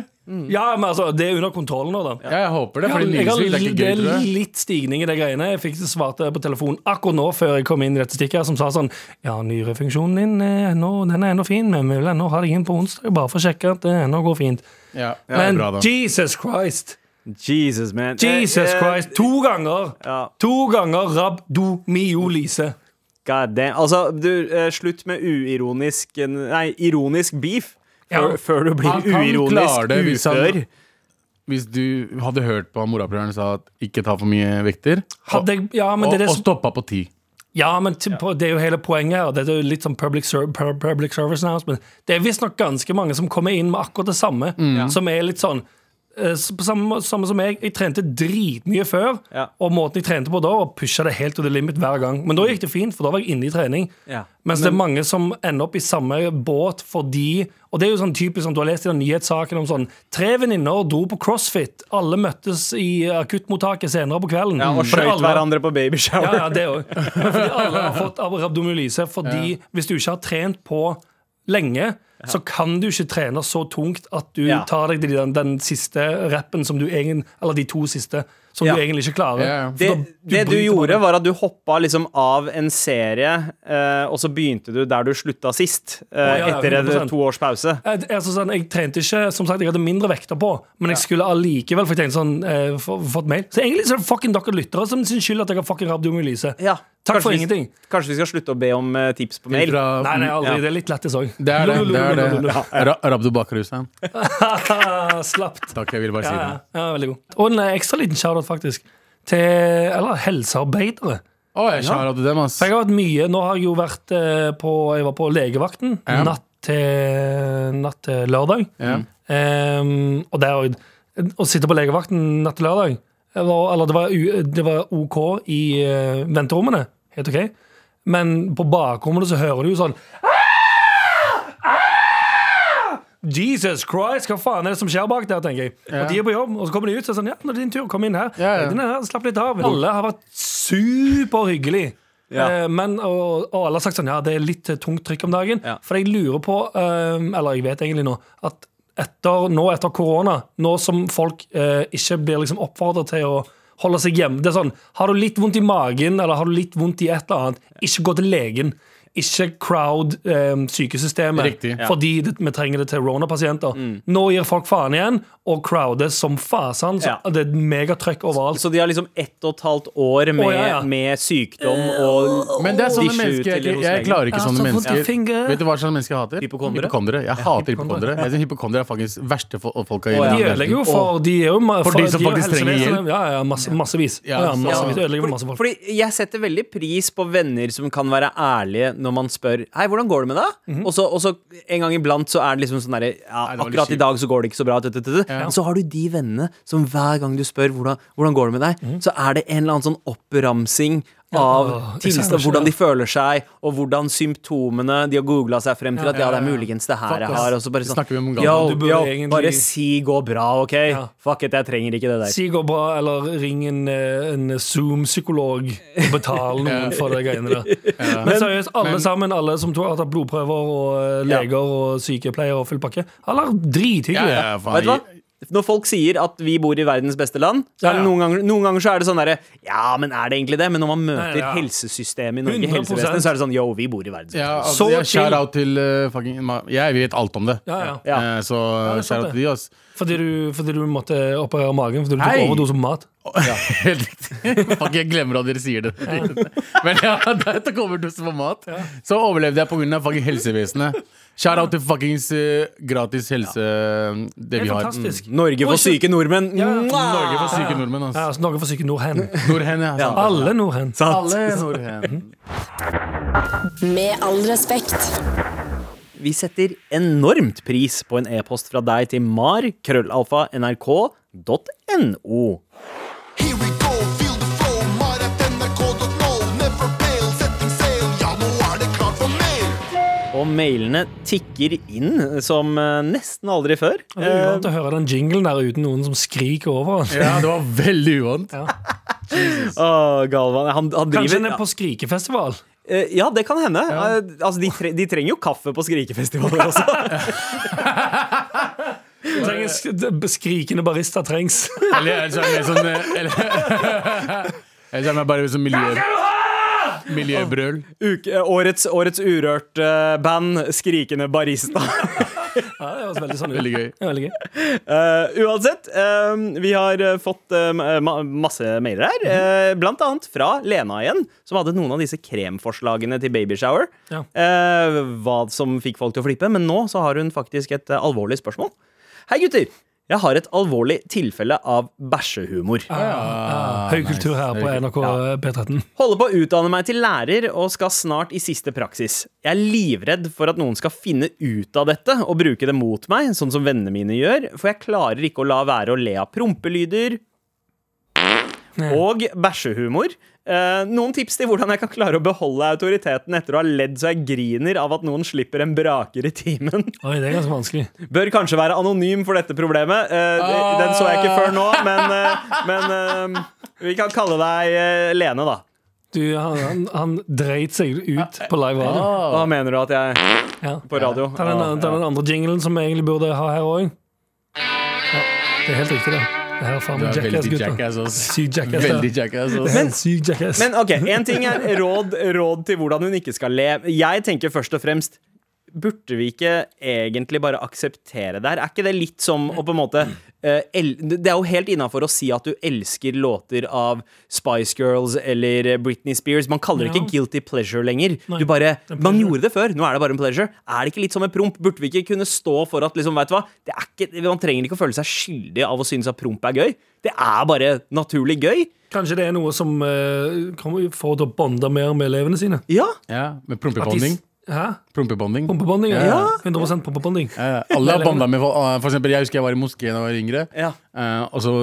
Speaker 3: Ja, men altså, det er under kontroll nå, da.
Speaker 2: Ja, jeg håper det,
Speaker 3: Jeg har-
Speaker 2: fordi
Speaker 3: jeg har
Speaker 2: nyresvikt er
Speaker 3: li-
Speaker 2: ikke
Speaker 3: det
Speaker 2: gøy,
Speaker 3: er
Speaker 2: tror jeg.
Speaker 3: litt stigning i de greiene. Jeg fikk svarte på telefonen akkurat nå før jeg kom inn i dette stikket, her, som sa sånn Ja, nyrefunksjonen din eh, nå, den er ennå fin, men vi vil ennå ha deg inn på onsdag, bare for å sjekke at det ennå går fint.
Speaker 2: Ja, det er
Speaker 3: Men
Speaker 2: bra, da.
Speaker 3: Jesus Christ!
Speaker 4: Jesus, man.
Speaker 3: Jesus
Speaker 4: Eh, eh,
Speaker 3: Christ! To ganger!
Speaker 4: Ja.
Speaker 3: To ganger rabdomyolise.
Speaker 4: God damn. Altså, du, eh, slutt med uironisk Nei, ironisk beef. Før,
Speaker 3: Ja.
Speaker 4: før du blir
Speaker 2: Han kan klare
Speaker 4: uironisk
Speaker 2: det hvis han-
Speaker 4: ufør.
Speaker 2: Hvis du hadde hørt på morapuleren sa at ikke ta for mye vekter, og,
Speaker 3: Hadde jeg, ja, men
Speaker 2: og,
Speaker 3: det er det
Speaker 2: og
Speaker 3: som
Speaker 2: stoppa på ti.
Speaker 3: Ja, men til, på- det er jo hele poenget her. og Det er jo litt sånn public, ser, pub- public service announcement. Det er visstnok ganske mange som kommer inn med akkurat det samme,
Speaker 4: Mm.
Speaker 3: som er litt sånn eh, s- på samme, må- samme som jeg. Jeg trente dritmye før,
Speaker 4: Ja.
Speaker 3: og måten jeg trente på da, var å pushe det helt to the limit hver gang. Men da gikk det fint, for da var jeg inne i trening.
Speaker 4: Ja.
Speaker 3: Mens det er mange som ender opp i samme båt fordi Og det er jo sånn typisk som du har lest i den nyhetssaken om sånn Tre venninner dro på CrossFit. Alle møttes i akuttmottaket senere på kvelden.
Speaker 4: Ja, og
Speaker 3: Fordi
Speaker 4: skøyt
Speaker 3: alle-
Speaker 4: hverandre på babyshower.
Speaker 3: ja, ja, det òg. Fordi alle har fått rabdomyolyse. Fordi hvis du ikke har trent på lenge, så kan du ikke trene så tungt at du
Speaker 4: Ja.
Speaker 3: tar deg til den, den siste rappen som du egen, Eller de to siste som
Speaker 4: Ja.
Speaker 3: du egentlig ikke klarer.
Speaker 2: Ja, ja.
Speaker 3: For
Speaker 4: Det,
Speaker 3: da-
Speaker 4: det du
Speaker 3: bryter
Speaker 4: gjorde,
Speaker 3: bare-
Speaker 4: var at du hoppa liksom av en serie, eh, og så begynte du der du slutta sist, eh,
Speaker 3: ja, ja,
Speaker 4: etter en
Speaker 3: 100%.
Speaker 4: to års pause.
Speaker 3: jeg, altså sånn, jeg trente ikke, som sagt, jeg hadde mindre vekter på, men jeg skulle allikevel få tenkt sånn, eh, få- fått mail. Så egentlig så er det fucking dere lyttere som sin skyld at jeg har fucking rabdomyolyse.
Speaker 4: Ja.
Speaker 3: Takk for
Speaker 4: vi-
Speaker 3: ingenting.
Speaker 4: Kanskje vi skal slutte å be om eh, tips på mail.
Speaker 2: Fra,
Speaker 3: Nei, nei, aldri.
Speaker 4: Ja.
Speaker 3: Det er litt lættis òg.
Speaker 2: det er det. det, er det. Ra- Rabdo Bakar Hussein.
Speaker 3: Slapt.
Speaker 2: Takk, jeg ville bare si
Speaker 3: Ja,
Speaker 2: det.
Speaker 3: ja, ja, veldig god. Og en eh, ekstra liten shout-out, faktisk. Til eller, helsearbeidere.
Speaker 2: Å, jeg skjærer av til dem, ass.
Speaker 3: For jeg har vært mye Nå har jeg jo vært eh, på Jeg var på legevakten
Speaker 2: Ja.
Speaker 3: natt, til, natt til lørdag.
Speaker 2: Ja.
Speaker 3: Ehm, og der og- Å sitte på legevakten natt til lørdag det var, Eller det var, u, det var OK i eh, venterommene. Helt OK. Men på bakrommene så hører du jo sånn Jesus Christ, hva faen er det som skjer bak der, tenker jeg. Og de er på jobb, og så kommer de ut og sånn, ja, nå er det din tur, kom inn her.
Speaker 2: Ja, ja.
Speaker 3: Din er her, slapp litt av. Alle har vært superhyggelig.
Speaker 4: Ja.
Speaker 3: Eh, men, og, og alle har sagt sånn, ja, det er litt eh, tungt trykk om dagen.
Speaker 4: Ja.
Speaker 3: For jeg lurer på, eh, eller jeg vet egentlig nå, at etter, nå etter korona, nå som folk eh, ikke blir liksom oppfordret til å holde seg hjemme, det er sånn, har du litt vondt i magen, eller har du litt vondt i et eller annet, ikke gå til legen. Ikke crowd eh, sykesystemet.
Speaker 2: Riktig.
Speaker 3: For fordi det, vi trenger det til Rona-pasienter. Nå gir folk faen igjen, og crowder som fasen. Så
Speaker 4: Ja.
Speaker 3: Det er megatrykk overalt.
Speaker 4: Så de har liksom ett og et halvt år med,
Speaker 3: Å, ja, ja.
Speaker 4: med sykdom og
Speaker 2: Men det er sånne
Speaker 4: Dishe
Speaker 2: mennesker
Speaker 4: ut
Speaker 2: jeg,
Speaker 4: eller
Speaker 2: ikke-
Speaker 4: hos
Speaker 2: jeg
Speaker 4: legen.
Speaker 2: klarer ikke
Speaker 3: Ah,
Speaker 2: sånne
Speaker 3: så vondt i
Speaker 2: mennesker.
Speaker 3: fingeren.
Speaker 2: Vet du hva slags mennesker jeg hater?
Speaker 4: Hypokondere?
Speaker 2: Jeg hater hypokondere. Jeg synes Hypokondere er faktisk verste fo- folk i
Speaker 4: Å, ja.
Speaker 2: verden.
Speaker 3: De ødelegger jo for De er jo ma-
Speaker 2: For de som
Speaker 3: er jo
Speaker 2: faktisk trenger
Speaker 3: helsevesenet.
Speaker 2: hjelp.
Speaker 3: Ja, ja, masse, massevis.
Speaker 2: Ja,
Speaker 3: Ja, ja, massevis.
Speaker 2: ja.
Speaker 3: Ødelegger for masse
Speaker 4: fordi,
Speaker 3: folk.
Speaker 4: fordi jeg setter veldig pris på venner som kan være ærlige når man spør Hei, hvordan går det med deg? og, så, og så en gang iblant så er det liksom sånn derre
Speaker 2: Nei, det
Speaker 4: ja,
Speaker 2: var litt
Speaker 4: Akkurat i
Speaker 2: kjipt.
Speaker 4: dag så går det ikke så bra. tut, tut, tut. Men så har du de vennene som hver gang du spør hvordan, hvordan går det med deg, så er det en eller annen sånn oppramsing av
Speaker 3: Åh,
Speaker 4: tilstand,
Speaker 3: ikke sant?
Speaker 4: hvordan de føler seg, og hvordan symptomene De har googla seg frem til at ja, det er muligens det her jeg
Speaker 2: ass.
Speaker 4: har. Og så bare
Speaker 2: Vi snakker vi om
Speaker 4: sånn
Speaker 2: Mongolia.
Speaker 4: Yo,
Speaker 3: Du burde
Speaker 4: yo,
Speaker 3: egentlig-
Speaker 4: bare si gå bra, OK? Fuck it, jeg trenger ikke det der.
Speaker 3: Si går bra, eller ring en, eh, en Zoom-psykolog og betal noen for de greiene der. Men seriøst, alle sammen, alle som to- har tatt blodprøver, og eh,
Speaker 4: Ja.
Speaker 3: leger og sykepleiere og full pakke, alle er
Speaker 2: Ja,
Speaker 3: drithyggelige.
Speaker 2: ja,
Speaker 4: Vet du hva?
Speaker 2: faen.
Speaker 4: Når folk sier at vi bor i verdens beste land, så er
Speaker 3: Ja,
Speaker 4: det
Speaker 3: ja.
Speaker 4: noen, ganger, noen ganger så er det sånn derre Ja, men er det egentlig det? Men når man møter
Speaker 3: Nei, ja.
Speaker 4: helsesystemet i Norge,
Speaker 3: 100%.
Speaker 4: helsevesenet, så er det sånn Yo, vi bor i verdens beste
Speaker 2: Ja,
Speaker 4: land.
Speaker 2: altså,
Speaker 3: Så
Speaker 2: jeg
Speaker 3: chill.
Speaker 2: shout out til eh, fucking ma- Jeg vet alt om det.
Speaker 3: Ja, ja.
Speaker 4: Ja.
Speaker 2: Eh, Så
Speaker 3: det er sant
Speaker 2: shout out
Speaker 3: det.
Speaker 2: til de, ass.
Speaker 3: Fordi, du, fordi du måtte operere magen fordi du
Speaker 2: Hei!
Speaker 3: tok overdose på mat.
Speaker 2: Helt riktig. Fuck, jeg glemmer at dere sier det. Men ja, da jeg tok overdose på mat, så overlevde jeg pga. helsevesenet. Shout out til fuckings eh, gratis helse eh, Det
Speaker 3: Det
Speaker 2: vi
Speaker 3: er
Speaker 2: har.
Speaker 3: fantastisk.
Speaker 5: Norge for syke nordmenn.
Speaker 3: ja.
Speaker 2: Mm. Norge for syke nordmenn,
Speaker 3: Ja,
Speaker 2: altså.
Speaker 3: altså, Norge for syke nordhen.
Speaker 2: Nordhen, Mm. ja. sant.
Speaker 3: Alle nordhen.
Speaker 5: Sant?
Speaker 2: Alle nordhen.
Speaker 6: Med all respekt.
Speaker 4: Vi setter enormt pris på en e-post fra deg til mar krøllalfa nrk.no.
Speaker 7: Here we go, feel the flow. Mar.nrk.no. Never fail, setting sail. Ja, nå er det klart for mer.
Speaker 4: Og mailene tikker inn som eh, nesten aldri før.
Speaker 3: Det er uvant å høre den jinglen der uten noen som skriker over den.
Speaker 2: Ja, det var veldig uvant.
Speaker 4: Å, Galvan, han, han
Speaker 3: Kanskje
Speaker 4: driver
Speaker 3: den er på skrikefestival?
Speaker 4: Eh, Ja, det kan hende. Eh, Altså, de, tre, de trenger jo kaffe på skrikefestivaler også.
Speaker 3: Det trenger sk- det- Skrikende barista trengs.
Speaker 2: Eller ellers er det mer sånn eh, Eller ellers er det bare sånn miljø... Miljøbrøl.
Speaker 4: Uke, eh, årets årets Urørt-band, Skrikende barista.
Speaker 3: Ja, det høres veldig sånn ut.
Speaker 2: Veldig gøy.
Speaker 3: Ja, veldig gøy.
Speaker 4: Eh, uansett, eh, vi har eh, fått eh, ma masse mailer her. eh, blant annet fra Lena igjen, som hadde noen av disse kremforslagene til babyshower.
Speaker 3: Ja.
Speaker 4: Eh, hva som fikk folk til å flippe. Men nå så har hun faktisk et eh, alvorlig spørsmål. Hei, gutter! Jeg har et alvorlig tilfelle av bæsjehumor.
Speaker 3: Ah. Ja, Høy kultur her på NRK eh, P13.
Speaker 4: Holder på å utdanne meg til lærer og skal snart i siste praksis. Jeg er livredd for at noen skal finne ut av dette og bruke det mot meg, sånn som vennene mine gjør, for jeg klarer ikke å la være å le av prompelyder og bæsjehumor. Eh, noen tips til hvordan jeg kan klare å beholde autoriteten etter å ha ledd så jeg griner av at noen slipper en braker i timen.
Speaker 3: Oi, det er ganske vanskelig.
Speaker 4: Bør kanskje være anonym for dette problemet. Eh, det- Den så jeg ikke før nå, men, eh, men eh, vi kan kalle deg eh, Lene, da.
Speaker 3: Du, han, han, han dreit seg ut på live radio.
Speaker 4: Hva mener du at jeg
Speaker 3: Ja.
Speaker 4: på radio.
Speaker 3: Ta den, ta den andre jinglen som vi egentlig burde ha her òg. Ja, det er helt riktig, det. Det her er faen
Speaker 2: Du
Speaker 3: meg
Speaker 2: er veldig
Speaker 3: jackass-gutta.
Speaker 2: jackass, ass.
Speaker 3: Syk jackass.
Speaker 2: Veldig
Speaker 3: ja.
Speaker 2: jackass, ass.
Speaker 3: Men, syk jackass.
Speaker 4: Men ok, en ting er råd, råd til hvordan hun ikke skal le. Jeg tenker først og fremst Burde vi ikke egentlig bare akseptere det her? Er ikke det litt som å på en måte eh, el Det er jo helt innafor å si at du elsker låter av Spice Girls eller Britney Spears. Man kaller det
Speaker 3: Ja.
Speaker 4: ikke guilty pleasure lenger.
Speaker 3: Nei,
Speaker 4: Du bare,
Speaker 3: det er
Speaker 4: man
Speaker 3: pleasure.
Speaker 4: gjorde det før, nå er det bare en pleasure. Er det ikke litt som en promp? Burde vi ikke kunne stå for at liksom, vet du hva? Det er ikke, man trenger ikke å føle seg skyldig av å synes at promp er gøy. Det er bare naturlig gøy.
Speaker 3: Kanskje det er noe som eh, kommer, får til å bonde mer med elevene sine?
Speaker 4: Ja,
Speaker 2: Ja, med
Speaker 3: At de
Speaker 2: prompebonding.
Speaker 3: s- Hæ?
Speaker 2: Prompebonding.
Speaker 3: Pumpebonding? Ja.
Speaker 4: Ja.
Speaker 3: 100 pumpebonding.
Speaker 2: Ja, ja. Eh, alle har banda med for, for eksempel, Jeg husker jeg var i moskeen da jeg var yngre,
Speaker 4: Ja.
Speaker 2: eh, og så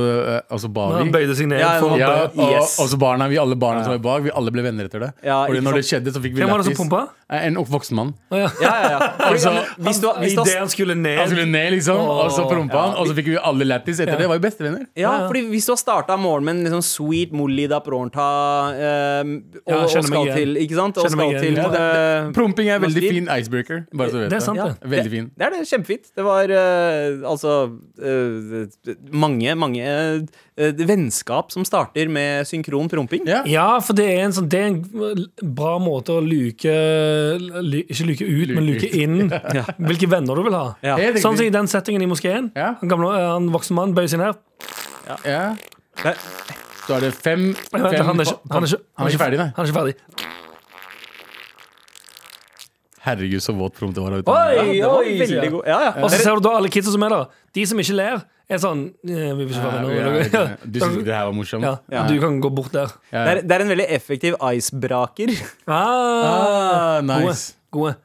Speaker 2: eh, og så ba
Speaker 3: Når
Speaker 2: vi.
Speaker 3: Han bøyde seg ned
Speaker 4: Ja,
Speaker 3: for å
Speaker 2: Ja,
Speaker 3: hoppe.
Speaker 2: og,
Speaker 4: Yes.
Speaker 2: og så barna, vi alle barna som var bak, vi alle ble venner etter det.
Speaker 4: Ja,
Speaker 2: Fordi
Speaker 4: ikke
Speaker 2: når det
Speaker 4: sant.
Speaker 2: skjedde, så fikk vi
Speaker 3: Hvem var det som
Speaker 2: lættis.
Speaker 3: pumpa?
Speaker 2: Eh, En voksen mann.
Speaker 4: ja, ja, ja.
Speaker 3: Altså,
Speaker 4: Fordi, ja, men hvis du, har- hvis du
Speaker 3: Idet
Speaker 4: har,
Speaker 3: han skulle ned.
Speaker 2: Han skulle ned, liksom, og så prompa han, og så fikk vi alle lættis etter det. Var jo bestevenner.
Speaker 4: ja, fordi hvis du har starta morgenen med en liksom sweet molly da pronta ehm, og,
Speaker 3: Ja, jeg
Speaker 4: og
Speaker 3: kjenner meg
Speaker 4: skal
Speaker 3: igjen.
Speaker 4: til Ikke sant? Og
Speaker 3: Kjenner meg
Speaker 4: skal
Speaker 3: igjen.
Speaker 4: til
Speaker 3: Ja,
Speaker 4: eh,
Speaker 2: Promping er veldig
Speaker 4: Maskil.
Speaker 2: fin icebreaker. Bare så du vet
Speaker 3: Det er sant,
Speaker 4: Ja.
Speaker 3: det.
Speaker 2: Veldig fin.
Speaker 4: Det er det. Kjempefint. Det var eh, altså eh, mange, mange eh, vennskap som starter med synkron promping.
Speaker 2: Ja.
Speaker 3: Ja, for det er en, sånn, det er en bra måte å luke lu- Ikke luke ut, men
Speaker 2: Luke
Speaker 3: luke inn hvilke venner du vil ha.
Speaker 4: Ja.
Speaker 2: Helt riktig.
Speaker 3: Sånn som i den settingen i moskeen.
Speaker 2: Ja.
Speaker 3: Han, gamle, eh, han voksen mann bøyer seg ned.
Speaker 2: Ja.
Speaker 4: Det-
Speaker 2: Så er det fem,
Speaker 3: Vent,
Speaker 2: fem
Speaker 3: han, er ikke, han, er ikke,
Speaker 2: han er ikke ferdig, nei.
Speaker 3: Han er ikke ferdig.
Speaker 2: Herregud, så våt promp det var. vet du.
Speaker 3: Oi,
Speaker 4: Det var
Speaker 3: oi, sier
Speaker 4: veldig
Speaker 3: han.
Speaker 4: god. Ja, ja.
Speaker 3: Og så ser du da alle kidsa som er der. De som ikke ler, er sånn eh, Vi vil ikke være
Speaker 2: Ja,
Speaker 3: venner.
Speaker 2: ja, ja. Du syns ikke det her var morsomt?
Speaker 3: Ja, Du kan gå bort der.
Speaker 2: Ja.
Speaker 4: Det er, det er en veldig effektiv icebraker.
Speaker 3: Ah,
Speaker 2: Ah,
Speaker 3: gode.
Speaker 2: nice.
Speaker 3: gode.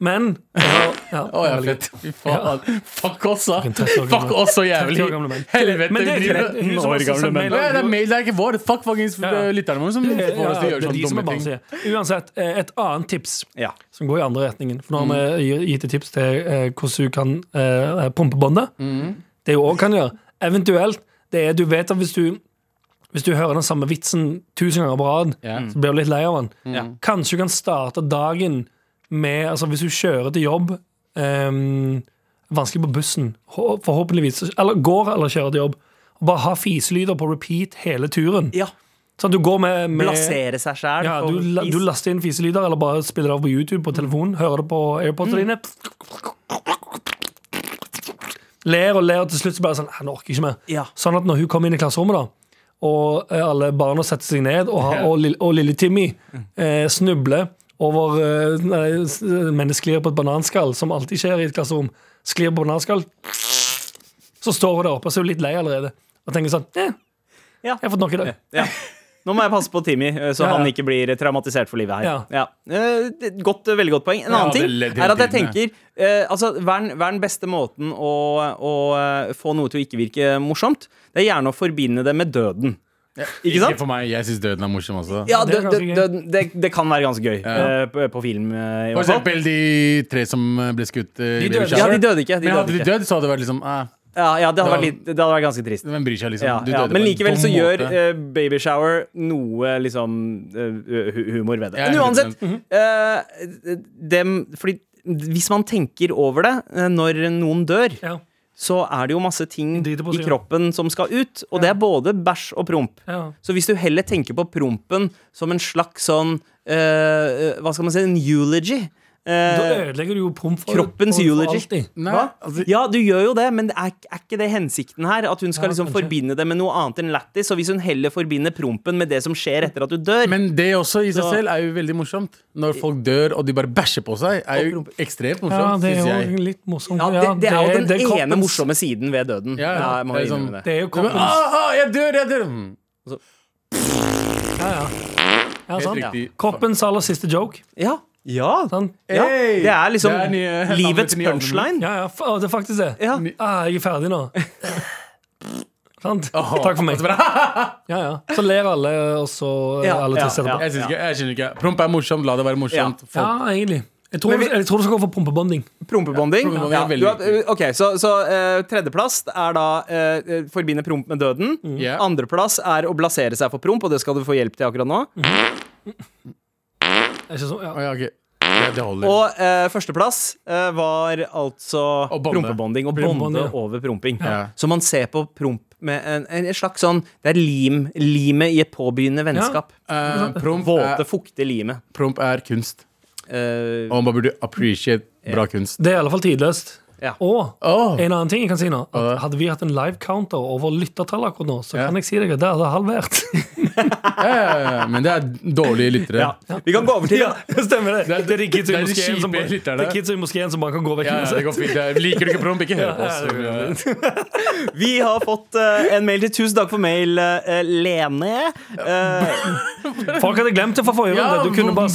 Speaker 3: Men jeg har- ja,
Speaker 2: Å ja,
Speaker 3: veldig
Speaker 2: fett. Fy faen. Fuck oss, da.
Speaker 3: Fucking 30 år gamle.
Speaker 2: Fuck oss så
Speaker 3: 30
Speaker 2: jævlig.
Speaker 3: år gamle menn.
Speaker 2: Helvete,
Speaker 3: Men
Speaker 2: vi
Speaker 3: det er
Speaker 2: driver
Speaker 3: greit. Hun som også sender mail-
Speaker 2: Ja, det er mail, det er ikke vår. Fuck fuckings
Speaker 3: Ja, ja.
Speaker 2: eh, lytterne våre som får oss til å
Speaker 3: Ja,
Speaker 2: gjøre
Speaker 3: det er de
Speaker 2: sånne
Speaker 3: som er
Speaker 2: dumme ting.
Speaker 3: barnslige. Uansett, eh, et annet tips
Speaker 4: Ja.
Speaker 3: som går i andre retningen. For nå har
Speaker 4: Mm.
Speaker 3: vi gi- gitt et tips til eh, hvordan du kan eh, pumpe båndet.
Speaker 4: Mm.
Speaker 3: Det du òg kan gjøre, eventuelt, det er du vet at hvis du hvis du hører den samme vitsen tusen ganger på rad,
Speaker 2: Ja.
Speaker 3: så blir du litt lei av den.
Speaker 4: Mm. Ja.
Speaker 3: Kanskje du kan starte dagen med altså Hvis du kjører til jobb ehm, Vanskelig på bussen, hå- forhåpentligvis. Eller går eller kjører til jobb. Og bare ha fiselyder på repeat hele turen.
Speaker 4: ja.
Speaker 3: Sånn at du går med, med
Speaker 4: Blasere seg sjæl.
Speaker 3: ja, du, la- du laster inn fiselyder, eller bare spiller det av på YouTube på telefonen. Hører det på airpodene dine. Ler og ler, og til slutt så bare sånn "Nei, Nå orker jeg ikke mer.
Speaker 4: Ja.
Speaker 3: Sånn at når hun kommer inn i klasserommet, da, og eh, alle barna setter seg ned, og, har- og, lille, og lille Timmy eh, snubler over eh, nei, s- menneskelier på et bananskall, som alltid skjer i et klasserom. Sklir på bananskall, så står hun der oppe og så er hun litt lei allerede. Og tenker sånn eh,
Speaker 4: Ja.
Speaker 3: Jeg har fått nok i dag.
Speaker 4: Ja. Nå må jeg passe på Timmy, eh, så
Speaker 3: Ja, ja.
Speaker 4: han ikke blir traumatisert for livet her.
Speaker 3: Ja.
Speaker 4: Eh, det- Godt, eh, veldig godt poeng. En annen
Speaker 2: det
Speaker 4: ting
Speaker 2: ledd
Speaker 4: er
Speaker 2: hele
Speaker 4: at jeg
Speaker 2: tiden,
Speaker 4: tenker eh, altså, hva, er den, hva er den beste måten å, å eh, få noe til å ikke virke morsomt? Det er gjerne å forbinde det med døden. Ikke sant?
Speaker 2: Ikke for meg, Jeg syns døden er morsom også.
Speaker 4: Ja,
Speaker 3: det er
Speaker 4: det, det,
Speaker 3: ganske gøy.
Speaker 4: det, det, det kan være ganske gøy eh, på, på film. eh, i
Speaker 2: For
Speaker 4: hvert fall.
Speaker 2: eksempel de tre som eh, ble skutt. eh, i
Speaker 3: De
Speaker 2: Baby
Speaker 3: døde.
Speaker 4: Ja,
Speaker 2: Shower.
Speaker 4: de døde ikke. De
Speaker 2: Men hadde
Speaker 4: døde
Speaker 2: de
Speaker 4: ikke.
Speaker 2: dødd, så hadde det vært liksom eh,
Speaker 4: Ja, ja, det, hadde
Speaker 2: Da-
Speaker 4: vært litt, det hadde vært ganske trist.
Speaker 2: Hvem bryr seg, liksom?
Speaker 4: Ja,
Speaker 2: Du
Speaker 4: ja.
Speaker 2: døde
Speaker 4: Men
Speaker 2: på en
Speaker 4: likevel så
Speaker 2: dum
Speaker 4: gjør
Speaker 2: måte.
Speaker 4: eh, Baby Shower noe liksom eh, hu- humor ved det.
Speaker 2: Ja,
Speaker 4: Men uansett,
Speaker 2: 100%.
Speaker 4: eh, dem, fordi hvis man tenker over det eh, når noen dør,
Speaker 3: Ja.
Speaker 4: så er det jo masse ting
Speaker 3: Driter på
Speaker 4: i
Speaker 3: seg, ja.
Speaker 4: kroppen som skal ut, og det er både bæsj og promp.
Speaker 3: Ja.
Speaker 4: Så hvis du heller tenker på prompen som en slags sånn eh, Hva skal man si? En eulogy.
Speaker 3: Da
Speaker 4: eh,
Speaker 3: ødelegger du jo promp for
Speaker 4: Kroppens
Speaker 3: for- for
Speaker 4: eulogy.
Speaker 3: alltid.
Speaker 2: Nei,
Speaker 4: Hva?
Speaker 2: altså-
Speaker 4: Ja, du gjør jo det, men er, er ikke det hensikten her? At hun skal
Speaker 3: Ja,
Speaker 4: liksom
Speaker 3: kanskje.
Speaker 4: forbinde det med noe annet enn lættis? Og hvis hun heller forbinder prompen med det som skjer etter at du dør
Speaker 2: Men det også i seg
Speaker 4: Så-
Speaker 2: selv er jo veldig morsomt. Når folk dør og de bare bæsjer på seg, er jo ekstremt
Speaker 3: Ja,
Speaker 2: morsomt,
Speaker 3: det
Speaker 2: syns
Speaker 3: er
Speaker 2: jeg.
Speaker 3: jo litt morsomt.
Speaker 4: ja, det, det er jo den
Speaker 3: det er
Speaker 4: ene
Speaker 3: kroppens-
Speaker 4: morsomme siden ved døden.
Speaker 2: Ja, ja.
Speaker 4: jeg må
Speaker 2: Det er
Speaker 4: innrømme
Speaker 2: sånn-
Speaker 4: det.
Speaker 3: Det er jo
Speaker 2: Du bare,
Speaker 3: kroppens
Speaker 2: ah, ah, jeg dør, jeg dør! Mm.
Speaker 4: Ah!
Speaker 3: Ja, ja. ja
Speaker 2: Helt
Speaker 3: sant.
Speaker 2: riktig.
Speaker 3: Kroppens aller siste joke.
Speaker 4: Ja. ja.
Speaker 3: Sant?
Speaker 4: ja.
Speaker 2: Hey!
Speaker 4: Det er liksom
Speaker 2: Det er nye-
Speaker 4: livets
Speaker 2: nye albumet.
Speaker 4: punchline.
Speaker 3: Ja, ja, fa- å, det er faktisk det.
Speaker 4: Ja.
Speaker 3: Ah, jeg er ferdig nå. Sant?
Speaker 2: Åh,
Speaker 3: Takk for meg.
Speaker 2: og så bare,
Speaker 3: Ja, ja. Så ler alle, og så eh,
Speaker 4: altså, Ja,
Speaker 3: alle
Speaker 4: ja,
Speaker 3: tisser
Speaker 4: ja.
Speaker 3: etterpå.
Speaker 2: Jeg syns ikke, jeg skjønner ikke. Promp er morsomt, la det være morsomt.
Speaker 3: Ja,
Speaker 2: Folk,
Speaker 3: egentlig. Jeg tror,
Speaker 4: Men vi-
Speaker 3: jeg tror det skal gå for prompebonding.
Speaker 4: Prompebonding.
Speaker 2: prompebonding
Speaker 4: Ja,
Speaker 2: er veldig
Speaker 4: du har- ok, Så, så eh, tredjeplass er da uh, forbinde promp med døden.
Speaker 2: Ja.
Speaker 4: Andreplass er å blasere seg for promp, og det skal du få hjelp til akkurat nå.
Speaker 3: Er ikke så,
Speaker 2: Å,
Speaker 3: ja.
Speaker 2: ja, ok. ja, det holder.
Speaker 4: Og eh, førsteplass eh, var altså
Speaker 2: Og bonde.
Speaker 4: prompebonding. Og bonde
Speaker 3: Prompebonding, ja.
Speaker 4: over promping.
Speaker 2: Ja.
Speaker 4: Så man ser på promp med en, en slags sånn Det er lim, limet i et påbegynnende vennskap.
Speaker 2: Eh, promp,
Speaker 4: Våte,
Speaker 2: er,
Speaker 4: fukte limet.
Speaker 2: promp er kunst.
Speaker 4: Eh,
Speaker 2: Og man burde appreciate bra kunst.
Speaker 3: Det er i alle fall tidløst.
Speaker 4: Ja.
Speaker 3: Og
Speaker 2: Åh,
Speaker 3: en annen ting jeg kan si nå at
Speaker 2: Ja.
Speaker 3: Hadde vi hatt en live counter over lyttertallet akkurat nå, så
Speaker 2: Ja.
Speaker 3: kan jeg si deg at det hadde halvert.
Speaker 2: ja, ja, ja, men det er dårlige lyttere.
Speaker 4: ja. Vi kan gå over til
Speaker 3: stemmer det.
Speaker 2: Det er-
Speaker 3: Det er de kidsa
Speaker 2: det
Speaker 3: i
Speaker 2: er de
Speaker 3: moskeen som,
Speaker 2: kjipe lytterne.
Speaker 3: det er kidsa i moskeen som bare kan gå vekk.
Speaker 2: Ja, det går fint. Ja, Liker du ikke promp, ikke hør på oss.
Speaker 4: Vi har fått eh, en mail til Tusen takk for mail, eh, Lene. Eh,
Speaker 3: Folk hadde glemt det fra forrige
Speaker 2: Ja,
Speaker 3: runde. Du kunne bare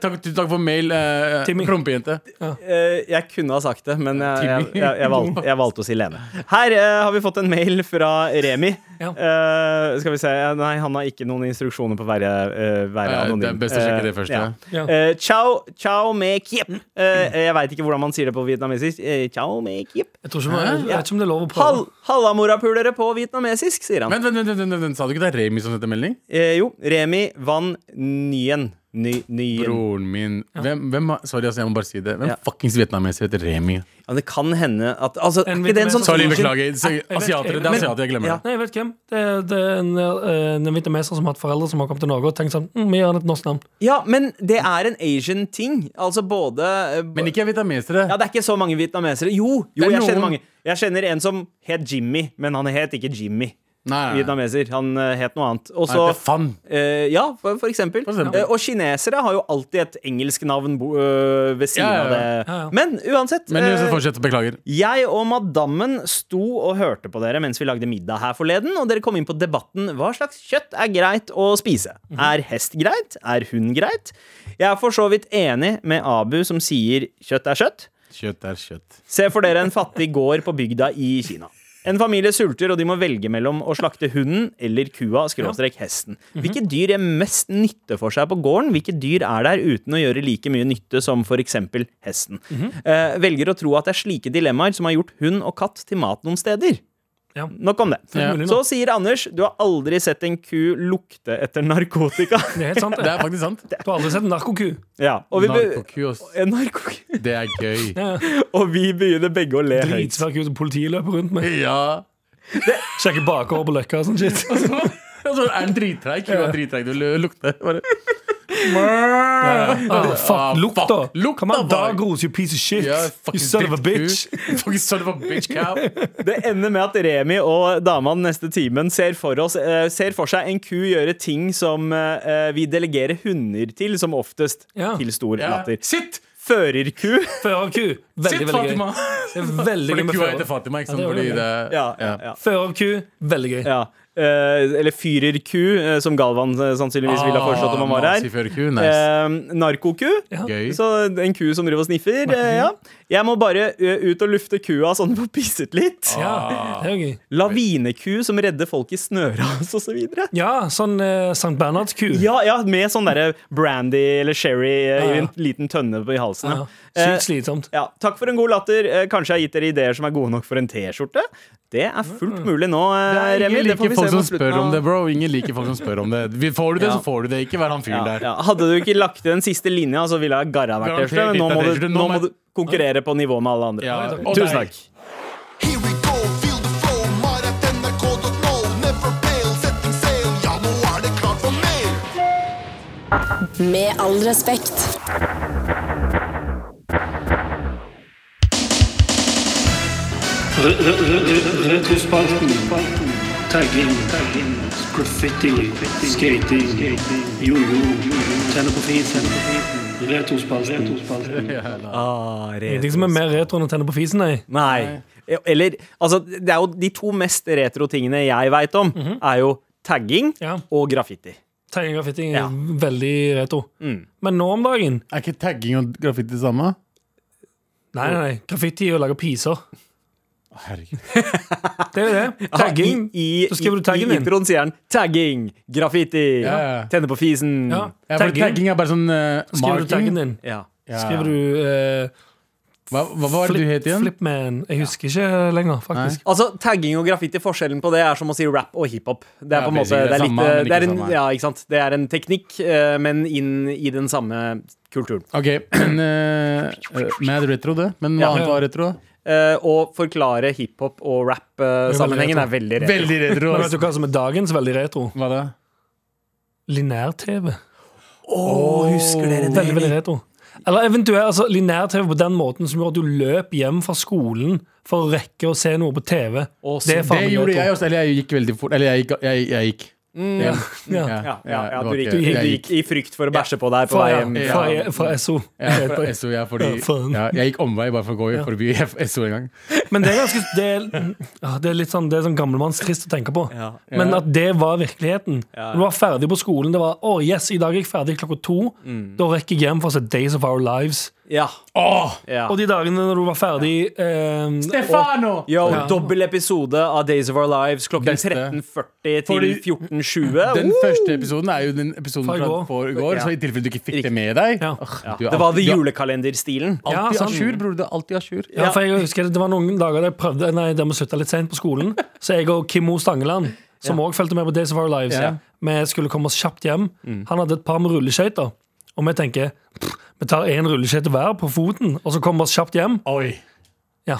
Speaker 2: sagt takk, tusen takk for mail, eh,
Speaker 3: Timmy.
Speaker 2: prompejente.
Speaker 4: Eh, jeg kunne ha sagt det, men jeg, jeg,
Speaker 2: Timmy.
Speaker 4: jeg, jeg, valgte, jeg valgte å si Lene. Her eh, har vi fått en mail fra Remi.
Speaker 3: Ja.
Speaker 4: Eh, skal vi se Nei, han har ikke noen instruksjoner på å være, eh, være
Speaker 2: Ja,
Speaker 4: anonym.
Speaker 2: det er best å sjekke det
Speaker 4: Eh,
Speaker 2: først,
Speaker 4: ja.
Speaker 3: ja.
Speaker 4: Eh, ciao, ciao me kiep. Eh, jeg veit ikke hvordan man sier det på vietnamesisk. Eh, ciao me kiep.
Speaker 3: Jeg tror ikke, man, jeg vet ikke om det er lov å prøve.
Speaker 4: Hall, Hallamorapulere på vietnamesisk, sier han.
Speaker 2: Vent, vent, vent, vent, vent, vent, sa du ikke det er Remi som sendte melding?
Speaker 4: Eh, jo, Remi van Nyen. Ny, Nyen.
Speaker 2: Broren min hvem, hvem, har- Sorry, altså, jeg må bare si det. Hvem
Speaker 4: Ja.
Speaker 2: fuckings vietnameser heter Remi?
Speaker 4: Ja, det kan hende at altså, Er
Speaker 3: En
Speaker 4: ikke det en sånn
Speaker 3: vietnameser-
Speaker 2: Sorry,
Speaker 4: origin-
Speaker 2: beklager. Så-
Speaker 3: vet-
Speaker 2: Asiatere, det er
Speaker 3: men-
Speaker 2: asiater, jeg glemmer
Speaker 4: Ja.
Speaker 2: det.
Speaker 3: Nei, jeg vet ikke hvem. Det, er- det er en, eh, en vietnameser som har hatt foreldre som har kommet til Norge og tenkt sånn mm, Vi gir han et norsk navn.
Speaker 4: Ja, men det er en Asian ting. Altså både eh,
Speaker 2: Men ikke vietnamesere.
Speaker 4: Ja, det er ikke så mange vietnamesere. Jo,
Speaker 2: Det
Speaker 4: jo
Speaker 2: er
Speaker 4: jeg kjenner
Speaker 2: noen.
Speaker 4: mange. Jeg kjenner en som het Jimmy, men han het ikke Jimmy.
Speaker 2: Nei, nei.
Speaker 4: Vietnameser. Han eh, het noe annet. Og
Speaker 2: Han
Speaker 4: så
Speaker 2: heter Fan.
Speaker 4: eh, ja, for, for eksempel.
Speaker 2: For eksempel.
Speaker 4: Eh, og kinesere har jo alltid et engelsk navn bo, eh, ved siden
Speaker 2: Ja, ja, ja.
Speaker 4: av det.
Speaker 3: Ja, ja.
Speaker 4: Men uansett.
Speaker 2: Men
Speaker 4: eh,
Speaker 2: uansett, fortsett. Beklager.
Speaker 4: jeg og madammen sto og hørte på dere mens vi lagde middag her forleden, og dere kom inn på debatten hva slags kjøtt er greit å spise. Er hest greit? Er hund greit? Jeg er for så vidt enig med Abu som sier kjøtt er kjøtt.
Speaker 2: Kjøtt er kjøtt.
Speaker 4: Se for dere en fattig gård på bygda i Kina. En familie sulter, og de må velge mellom å slakte hunden eller kua, skråstrek hesten.
Speaker 3: Mhm.
Speaker 4: Hvilke dyr gjør mest nytte for seg på gården? Hvilke dyr er der uten å gjøre like mye nytte som for eksempel hesten?
Speaker 3: Mhm.
Speaker 4: eh, velger å tro at det er slike dilemmaer som har gjort hund og katt til mat noen steder.
Speaker 3: Ja.
Speaker 4: Nok om det.
Speaker 3: Ja.
Speaker 4: Så sier Anders, du har aldri sett en ku lukte etter narkotika.
Speaker 3: Det er helt sant.
Speaker 2: Det er
Speaker 3: Det.
Speaker 2: faktisk sant.
Speaker 3: Du har aldri sett en narkoku.
Speaker 4: ja, og vi be-
Speaker 2: Narkoku, ass.
Speaker 4: En narkoku.
Speaker 2: Det er gøy.
Speaker 4: Og vi begynner begge å le høyt.
Speaker 3: Dritsvær ku som politiet løper rundt med.
Speaker 2: Ja.
Speaker 3: Sjekker bakover på løkka og sånn shit.
Speaker 2: Altså, er den drittreig? Kua er drittreig. Du lukter bare
Speaker 3: Oh,
Speaker 2: Ah,
Speaker 3: fuck lukta.
Speaker 2: fuck. Lukta,
Speaker 3: Come on,
Speaker 2: boy.
Speaker 3: Dagros, you piece of shit.
Speaker 2: Yeah,
Speaker 3: you
Speaker 2: fucking
Speaker 3: son of a
Speaker 2: dick,
Speaker 3: bitch.
Speaker 2: du. Fucking son of a bitch cow.
Speaker 4: Det ender med at Remi og damene neste timen ser for, oss, eh, ser for seg en ku gjøre ting som eh, vi delegerer hunder til, som oftest,
Speaker 3: Ja.
Speaker 4: til stor
Speaker 2: Ja.
Speaker 4: latter.
Speaker 2: Sitt!
Speaker 4: Førerku.
Speaker 3: Førerku.
Speaker 2: Sitt,
Speaker 3: Veldig, veldig
Speaker 2: Fatima!
Speaker 3: gøy. Det er veldig gøy
Speaker 2: Fordi
Speaker 3: med
Speaker 2: kua
Speaker 3: fører.
Speaker 2: heter Fatima, ikke sant?
Speaker 3: Ja, det er
Speaker 2: Fordi
Speaker 3: veldig
Speaker 2: det er
Speaker 4: Ja, ja, ja.
Speaker 3: Førerku. Veldig gøy.
Speaker 4: ja. Eh, eller fyrerku, eh, som Galvan eh, sannsynligvis ville ha foreslått om han var her.
Speaker 2: Naziførerku, Ah, nice.
Speaker 4: Eh, narkoku.
Speaker 2: Gøy.
Speaker 4: Så en ku som driver og sniffer. Eh, ja. Jeg må bare eh, ut og lufte kua sånn på pisset litt.
Speaker 2: Ah.
Speaker 3: Ja, det er jo gøy.
Speaker 4: Lavineku som redder folk i snøras og så videre.
Speaker 3: Ja, sånn eh, St. Bernhardsku.
Speaker 4: Ja, ja, med sånn derre brandy eller sherry eh,
Speaker 3: Ja, ja.
Speaker 4: i en liten tønne på- i halsen.
Speaker 3: Ja.
Speaker 4: Ja.
Speaker 3: Sykt
Speaker 4: Eh,
Speaker 3: slitsomt.
Speaker 4: ja, takk for en god latter. Eh, Kanskje jeg har gitt dere ideer som er gode nok for en T-skjorte. Det er fullt mulig nå, eh, Remi.
Speaker 2: Ingen
Speaker 4: Det
Speaker 2: liker
Speaker 4: får vi
Speaker 2: folk
Speaker 4: se
Speaker 2: som
Speaker 4: mot
Speaker 2: spør om
Speaker 4: slutten
Speaker 2: det,
Speaker 4: av
Speaker 2: bro. Ingen liker folk som spør om det. Vi- Får du det,
Speaker 4: Ja.
Speaker 2: så får du det. Ikke vær han fyren
Speaker 4: ja,
Speaker 2: der.
Speaker 4: ja. Hadde du ikke lagt til den siste linja, så ville jeg garra vært
Speaker 2: Garantert
Speaker 4: T-skjorte. men Nå,
Speaker 2: gitt deg T-skjorte.
Speaker 4: må du-
Speaker 2: Nå må
Speaker 4: nå må du konkurrere på nivå med alle andre.
Speaker 2: Ja.
Speaker 3: takk.
Speaker 2: Og deg.
Speaker 4: Tusen takk.
Speaker 7: Here we go, feel the flow, maratnrk.no. Never fail, setting sail, ja, nå er det klart for mer.
Speaker 6: Med all respekt.
Speaker 5: Retrospalten. Tagging. Graffiti. Skating. Jojo. Tenne på fisen. Retrospalten.
Speaker 4: Ah, retro.
Speaker 3: Ingenting som er mer retro enn å tenne på fisen, nei.
Speaker 4: Nei. Eller Altså, det er jo de to mest retro tingene jeg veit om, er jo tagging
Speaker 3: Ja.
Speaker 4: og graffiti.
Speaker 3: Tagging og graffiti er
Speaker 4: Ja.
Speaker 3: veldig retro. Men nå om dagen
Speaker 2: Er ikke tagging og graffiti det samme?
Speaker 3: Nei, nei, nei. graffiti er å lage piser.
Speaker 2: Herregud.
Speaker 3: Det er jo det. Tagging.
Speaker 4: I, i,
Speaker 3: Så skriver du taggen
Speaker 4: i,
Speaker 3: din.
Speaker 4: I introen sier han tagging, graffiti,
Speaker 2: Ja, ja.
Speaker 4: tenne på fisen.
Speaker 3: Ja.
Speaker 2: Ja, for
Speaker 3: Tagging.
Speaker 2: tagging er bare sånn eh,
Speaker 3: Skriver du
Speaker 2: marking.
Speaker 3: taggen din?
Speaker 4: Ja.
Speaker 2: Ja.
Speaker 3: Skriver du eh,
Speaker 2: Hva, hva var det du het igjen?
Speaker 3: Flipman. Jeg husker ikke lenger, faktisk.
Speaker 4: Altså, Tagging og graffiti, forskjellen på det er som å si rap og hiphop. Det er
Speaker 2: Ja,
Speaker 4: på en måte,
Speaker 2: basically, det er
Speaker 4: det er litt, eh,
Speaker 2: samme, men
Speaker 4: det er
Speaker 2: ikke
Speaker 4: en,
Speaker 2: samme.
Speaker 4: ja, ikke sant? Det er en teknikk, eh, men inn i den samme kulturen.
Speaker 2: Ok, men eh, eh, Mad retro, det. Men hva
Speaker 4: Ja.
Speaker 2: annet var retro? da?
Speaker 4: Eh, Å forklare hiphop og rap-sammenhengen er veldig rett.
Speaker 2: Veldig retro.
Speaker 3: Men
Speaker 2: ass.
Speaker 3: vet du hva som er dagens veldig retro?
Speaker 2: Hva da?
Speaker 3: Linær-TV.
Speaker 4: Å, husker dere
Speaker 3: Veldig, veldig retro. Eller eventuelt altså, linær-TV på den måten som gjorde at du løp hjem fra skolen for å rekke å se noe på TV.
Speaker 4: Å, så
Speaker 3: det er
Speaker 2: Det
Speaker 3: faen meg
Speaker 2: gjorde jeg
Speaker 3: retro.
Speaker 2: også. Eller jeg gikk veldig fort. Eller jeg gikk. Jeg, jeg gikk. Ja.
Speaker 3: Ja.
Speaker 4: Mm. Ja, ja, ja,
Speaker 2: det
Speaker 4: du
Speaker 2: var
Speaker 4: gikk,
Speaker 2: ikke-
Speaker 4: du
Speaker 2: jeg
Speaker 4: gikk i frykt for å bæsje på deg på
Speaker 3: Fra,
Speaker 4: vei hjem.
Speaker 3: fra, fra SO.
Speaker 2: Ja, fra SO, ja, fordi,
Speaker 3: Ja, faen.
Speaker 2: ja, jeg gikk omvei bare for å gå forbi SO en gang.
Speaker 3: Men det er ganske det er, ah, det er litt sånn, det er sånn gammelmannstrist å tenke på.
Speaker 4: Ja.
Speaker 3: Men at det var virkeligheten. Du var ferdig på skolen. Det var 'Å, yes, i dag er jeg ferdig klokka to'. Da rekker jeg hjem for å se 'Days of Our Lives'.
Speaker 4: Ja.
Speaker 2: Åh!
Speaker 4: Ja.
Speaker 3: Og de dagene når du var ferdig ehm,
Speaker 2: Stefano!
Speaker 4: Yo, dobbel episode av Days of Our Lives klokken
Speaker 2: Beste.
Speaker 4: 13.40 til
Speaker 2: Fordi-
Speaker 4: 14.20.
Speaker 2: Den
Speaker 4: Oh!
Speaker 2: første episoden er jo den episoden
Speaker 3: Fra i
Speaker 2: fra
Speaker 3: går.
Speaker 2: forgår, så i tilfelle du ikke fikk det med deg
Speaker 3: Ja.
Speaker 2: Åh,
Speaker 4: Ja.
Speaker 2: du er
Speaker 4: Det var
Speaker 2: alltid-
Speaker 4: det
Speaker 2: du er
Speaker 4: julekalenderstilen.
Speaker 3: Ja, sånn.
Speaker 2: Alltid
Speaker 3: sant.
Speaker 2: a jour, bror. Du er alltid a jour.
Speaker 3: Ja, for jeg husker det, det var noen dager der jeg prøvde Nei, der vi slutta litt sent på skolen. Så jeg og Kimmo Stangeland, som òg fulgte med på Days of Our Lives,
Speaker 2: Ja. Mm.
Speaker 3: vi skulle komme oss kjapt hjem. Han hadde et par med rulleskøyter. Og vi tenker pff, vi tar én rulleskøyte hver på foten, og så kommer vi oss kjapt hjem.
Speaker 2: Oi.
Speaker 3: Ja.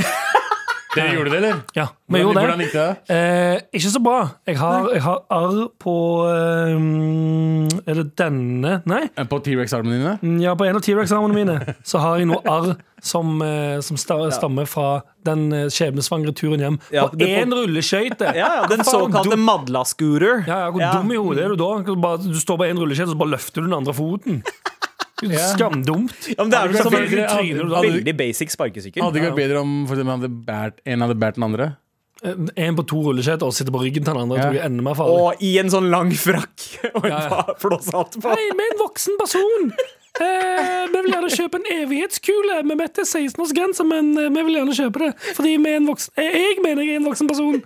Speaker 2: Dere gjorde det, eller?
Speaker 3: Ja, vi
Speaker 2: Hvordan,
Speaker 3: gjorde
Speaker 2: hvordan gikk
Speaker 3: det.
Speaker 2: det?
Speaker 3: Eh, ikke så bra. Jeg har, jeg har arr på eh, mm, Er det denne? Nei.
Speaker 2: Eh, På T-rex-armene dine?
Speaker 3: Ja, på en av T-rex-armene mine Så har jeg noe arr som, eh, som sta- stammer fra den eh, skjebnesvangre turen hjem.
Speaker 4: Ja,
Speaker 3: på
Speaker 4: det-
Speaker 3: én rulleskøyte!
Speaker 4: Ja, ja, Den
Speaker 3: Faen, hvor
Speaker 4: såkalte
Speaker 3: dum-
Speaker 4: Madla-scooter.
Speaker 3: ja, ja, Hvor
Speaker 4: Ja.
Speaker 3: dum i hodet er du da? Du, bare, du står på én rulleskøyte, og så bare løfter du den andre foten. Skamdumt.
Speaker 4: Ja, men det er vel
Speaker 3: Hadde
Speaker 4: sånn som
Speaker 3: du
Speaker 4: en
Speaker 3: ikke
Speaker 2: hadde-
Speaker 3: tryner du da?
Speaker 2: hadde-
Speaker 4: veldig basic sparkesykkel.
Speaker 2: Hadde det ikke vært bedre om for eksempel, han hadde bært, en hadde båret den andre?
Speaker 3: Eh, En på to rulleskøyter og sitter på ryggen til den andre. Jeg
Speaker 2: Ja.
Speaker 3: tror jeg er enda mer farlig.
Speaker 4: Og i en sånn lang frakk og en
Speaker 3: Ja, ja.
Speaker 4: flåshatt på.
Speaker 3: Nei, med en voksen person. Eh, vi vil gjerne kjøpe en evighetskule. Vi vet det er 16-årsgrense, men eh, vi vil gjerne kjøpe det. Fordi vi er en voksen eh, Jeg mener jeg er en voksen person.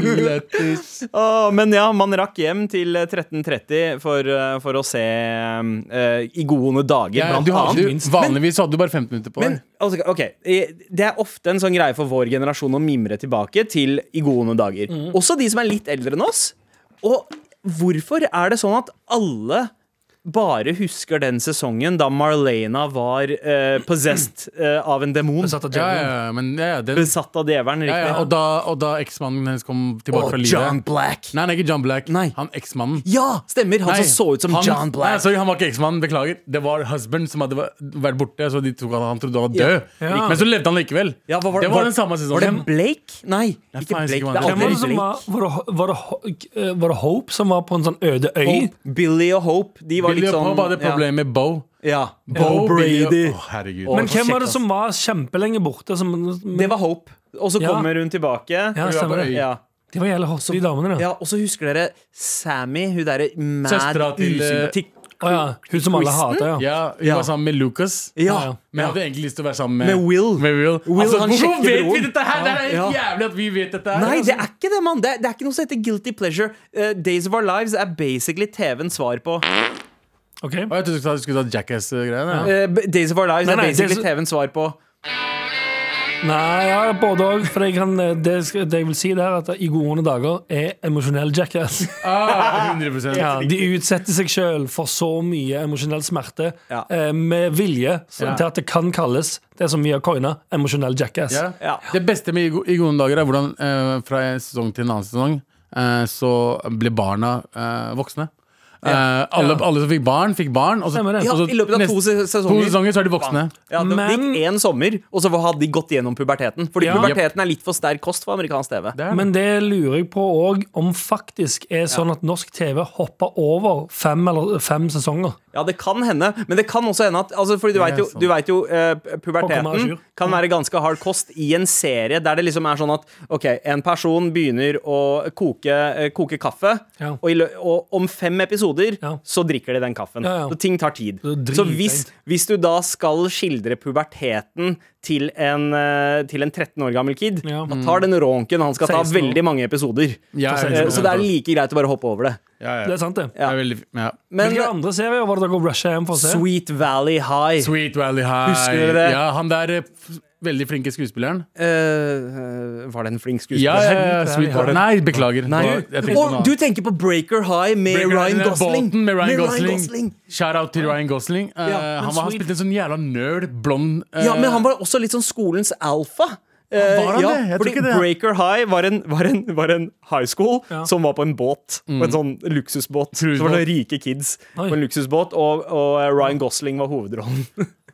Speaker 2: Lettis.
Speaker 4: Åh, men ja, man rakk hjem til 13.30 for, eh, for å se eh, I gode dager,
Speaker 2: Ja,
Speaker 4: blant
Speaker 2: du hadde,
Speaker 4: annet.
Speaker 2: jo- vanligvis så hadde du bare 15 minutter på
Speaker 4: Men
Speaker 2: deg.
Speaker 4: altså, ok, eh, Det er ofte en sånn greie for vår generasjon å mimre tilbake til i gode dager.
Speaker 2: Mhm.
Speaker 4: Også de som er litt eldre enn oss. Og hvorfor er det sånn at alle bare husker den sesongen da Marlena var eh, possessed eh, av en demon.
Speaker 3: Satt av
Speaker 2: Ja, ja,
Speaker 3: djevelen.
Speaker 2: ja, men ja, ja, den,
Speaker 4: Besatt av djevelen,
Speaker 2: ja,
Speaker 4: riktig.
Speaker 2: ja, og da, og da eksmannen hennes kom tilbake
Speaker 4: Og
Speaker 2: fra livet
Speaker 4: John Black.
Speaker 2: Nei, nei, ikke John Black.
Speaker 4: Nei.
Speaker 2: Han eksmannen.
Speaker 4: Ja, stemmer! Han
Speaker 2: Nei,
Speaker 4: som så ut som
Speaker 2: han-
Speaker 4: John Black.
Speaker 2: Nei, sorry, han var ikke eksmannen, beklager. Det var husband som hadde væ- vært borte, så de tok at han trodde han var død.
Speaker 3: Ja.
Speaker 2: Men så levde han likevel.
Speaker 4: Ja, hva
Speaker 2: det var, den samme
Speaker 4: Var det
Speaker 2: sesongen.
Speaker 4: Blake? Nei, ikke
Speaker 2: faen, jeg husker
Speaker 4: Blake.
Speaker 2: ikke hva
Speaker 4: Det
Speaker 2: han heter.
Speaker 4: er
Speaker 3: Hvem var
Speaker 4: aldri
Speaker 3: det som
Speaker 4: Blake.
Speaker 3: var, var, det, var, det, Ho- eh, var det Hope som var på en sånn øde øy?
Speaker 4: Hope, Billy og Hope. De var
Speaker 2: Billy
Speaker 4: litt
Speaker 2: og
Speaker 4: sånn
Speaker 2: Bob hadde
Speaker 4: ja.
Speaker 2: problemet med Bo.
Speaker 4: Ja.
Speaker 2: Bo
Speaker 4: Bo
Speaker 2: Billy og-
Speaker 4: Brady.
Speaker 2: Å, herregud.
Speaker 4: Og-
Speaker 3: Men
Speaker 4: Å,
Speaker 3: hvem
Speaker 4: shit,
Speaker 3: var det som var kjempelenge borte? Som,
Speaker 4: Det var Hope. Og så
Speaker 3: Ja.
Speaker 4: kommer hun tilbake.
Speaker 3: ja, stemmer det.
Speaker 4: Ja.
Speaker 3: De var jævlig hotte, de damene. Da.
Speaker 4: Ja, og så husker dere Sammy, hun derre mad
Speaker 2: Søstera til, eh,
Speaker 4: usympatikk-
Speaker 3: Å ja. Hun som alle
Speaker 4: Kristen?
Speaker 3: hater, ja.
Speaker 2: ja, hun
Speaker 4: Ja.
Speaker 2: var sammen med Lucas.
Speaker 4: Ja.
Speaker 3: Ja, ja.
Speaker 2: Men jeg hadde egentlig lyst til å være sammen med,
Speaker 4: Med Will.
Speaker 2: Med Will.
Speaker 4: Will,
Speaker 2: altså,
Speaker 4: han
Speaker 2: hvorfor
Speaker 4: sjekker
Speaker 2: vet vi
Speaker 4: broren.
Speaker 2: dette her?! Det er helt
Speaker 4: Ja.
Speaker 2: jævlig at vi vet dette her!
Speaker 4: Nei, det
Speaker 2: altså.
Speaker 4: er ikke det, mann! Det, er- det er ikke noe som heter guilty pleasure. Eh, Days of Our Lives er basically TV-ens svar på
Speaker 3: Ok.
Speaker 2: Å, Jeg trodde du skulle ta Jackass-greiene. Ja.
Speaker 4: Eh, B- Days of Our Lives
Speaker 3: Nei,
Speaker 4: er
Speaker 3: nei,
Speaker 4: basically
Speaker 3: Days-
Speaker 4: TV-ens svar på
Speaker 3: Nei, ja, både òg. For jeg kan, eh, det, skal- det jeg vil si, det er at i gode onde dager er emosjonell jackass.
Speaker 2: Ah, 100
Speaker 3: Ja, de utsetter seg sjøl for så mye emosjonell smerte
Speaker 4: Ja.
Speaker 3: eh, med vilje så,
Speaker 2: Ja.
Speaker 3: til at det kan kalles det som vi har coina, emosjonell jackass.
Speaker 2: Ja.
Speaker 4: Ja.
Speaker 2: Det beste med i go- I gode dager er hvordan eh, fra en sesong til en annen sesong eh, så ble barna eh, voksne. Eh, alle, alle som fikk barn, fikk barn. Og så,
Speaker 3: Stemmer det.
Speaker 4: Ja,
Speaker 2: og så
Speaker 4: i løpet av to se- sesonger.
Speaker 2: to sesonger så er de voksne.
Speaker 4: Ja, det
Speaker 3: Men-
Speaker 4: gikk én sommer, og så hadde de gått gjennom puberteten. Fordi
Speaker 3: Ja.
Speaker 4: puberteten er litt for sterk kost for amerikansk TV.
Speaker 2: Det er,
Speaker 3: Men det lurer jeg på òg om faktisk er sånn at norsk TV hopper over fem, eller, fem sesonger.
Speaker 4: Ja, det kan hende, men det kan også hende at altså, Fordi du
Speaker 2: Det
Speaker 4: vet
Speaker 2: er
Speaker 4: jo,
Speaker 2: sant.
Speaker 4: du vet jo eh,
Speaker 3: Å komme à
Speaker 4: puberteten
Speaker 3: jour.
Speaker 4: kan
Speaker 3: Mm.
Speaker 4: være ganske hard kost i en serie der det liksom er sånn at OK, en person begynner å koke, eh, koke kaffe,
Speaker 3: Ja.
Speaker 4: og, i lø og om fem episoder
Speaker 3: Ja.
Speaker 4: så drikker de den kaffen.
Speaker 3: Ja, ja.
Speaker 4: Så ting tar tid.
Speaker 3: Det er
Speaker 4: Så hvis,
Speaker 3: dritseint.
Speaker 4: hvis du da skal skildre puberteten til en, eh, til en 13 år gammel kid,
Speaker 3: Ja.
Speaker 4: da tar den ronken han skal ta
Speaker 3: 16 år.
Speaker 4: veldig mange episoder.
Speaker 2: Ja,
Speaker 4: Eh,
Speaker 2: jeg er
Speaker 4: så det er like greit å bare hoppe over det. sånn-
Speaker 2: ja, ja.
Speaker 3: Det er sant, det.
Speaker 2: Det er veldig, ja.
Speaker 4: Men
Speaker 3: Hvilke andre serier var det dere rusha hjem for å se?
Speaker 4: Sweet Valley High
Speaker 2: Sweet Valley High.
Speaker 4: Husker dere det?
Speaker 2: Ja, han der eh, f- veldig flinke skuespilleren.
Speaker 4: Eh, eh, var det en flink
Speaker 2: Ja,
Speaker 4: skuespiller?
Speaker 2: ja, ja, Sweet Valley Nei, beklager.
Speaker 4: Nei.
Speaker 2: Det var- jeg tenkte
Speaker 4: Og
Speaker 2: noe annet.
Speaker 4: du tenker på Breaker High med
Speaker 2: Breaker
Speaker 4: Ryan
Speaker 2: Island,
Speaker 4: Gosling.
Speaker 2: Bolton med Ryan
Speaker 4: Med
Speaker 2: Gosling. Shout-out til Ryan Gosling. Eh,
Speaker 4: Ja,
Speaker 2: han,
Speaker 4: men
Speaker 2: var, han
Speaker 4: sweet.
Speaker 2: spilte en sånn jævla nerd, blond eh,
Speaker 4: Ja, men han var også litt sånn skolens alfa. Eh,
Speaker 2: Var han
Speaker 4: ja,
Speaker 2: det? Jeg tror
Speaker 4: fordi
Speaker 2: ikke det.
Speaker 4: Breaker High var en, var en, var en high school
Speaker 3: Ja.
Speaker 4: som var på en båt. På
Speaker 2: Mm.
Speaker 4: en sånn luksusbåt. Så var det rike kids
Speaker 3: Oi.
Speaker 4: på en luksusbåt, og, og eh, Ryan Gosling var hovedrollen.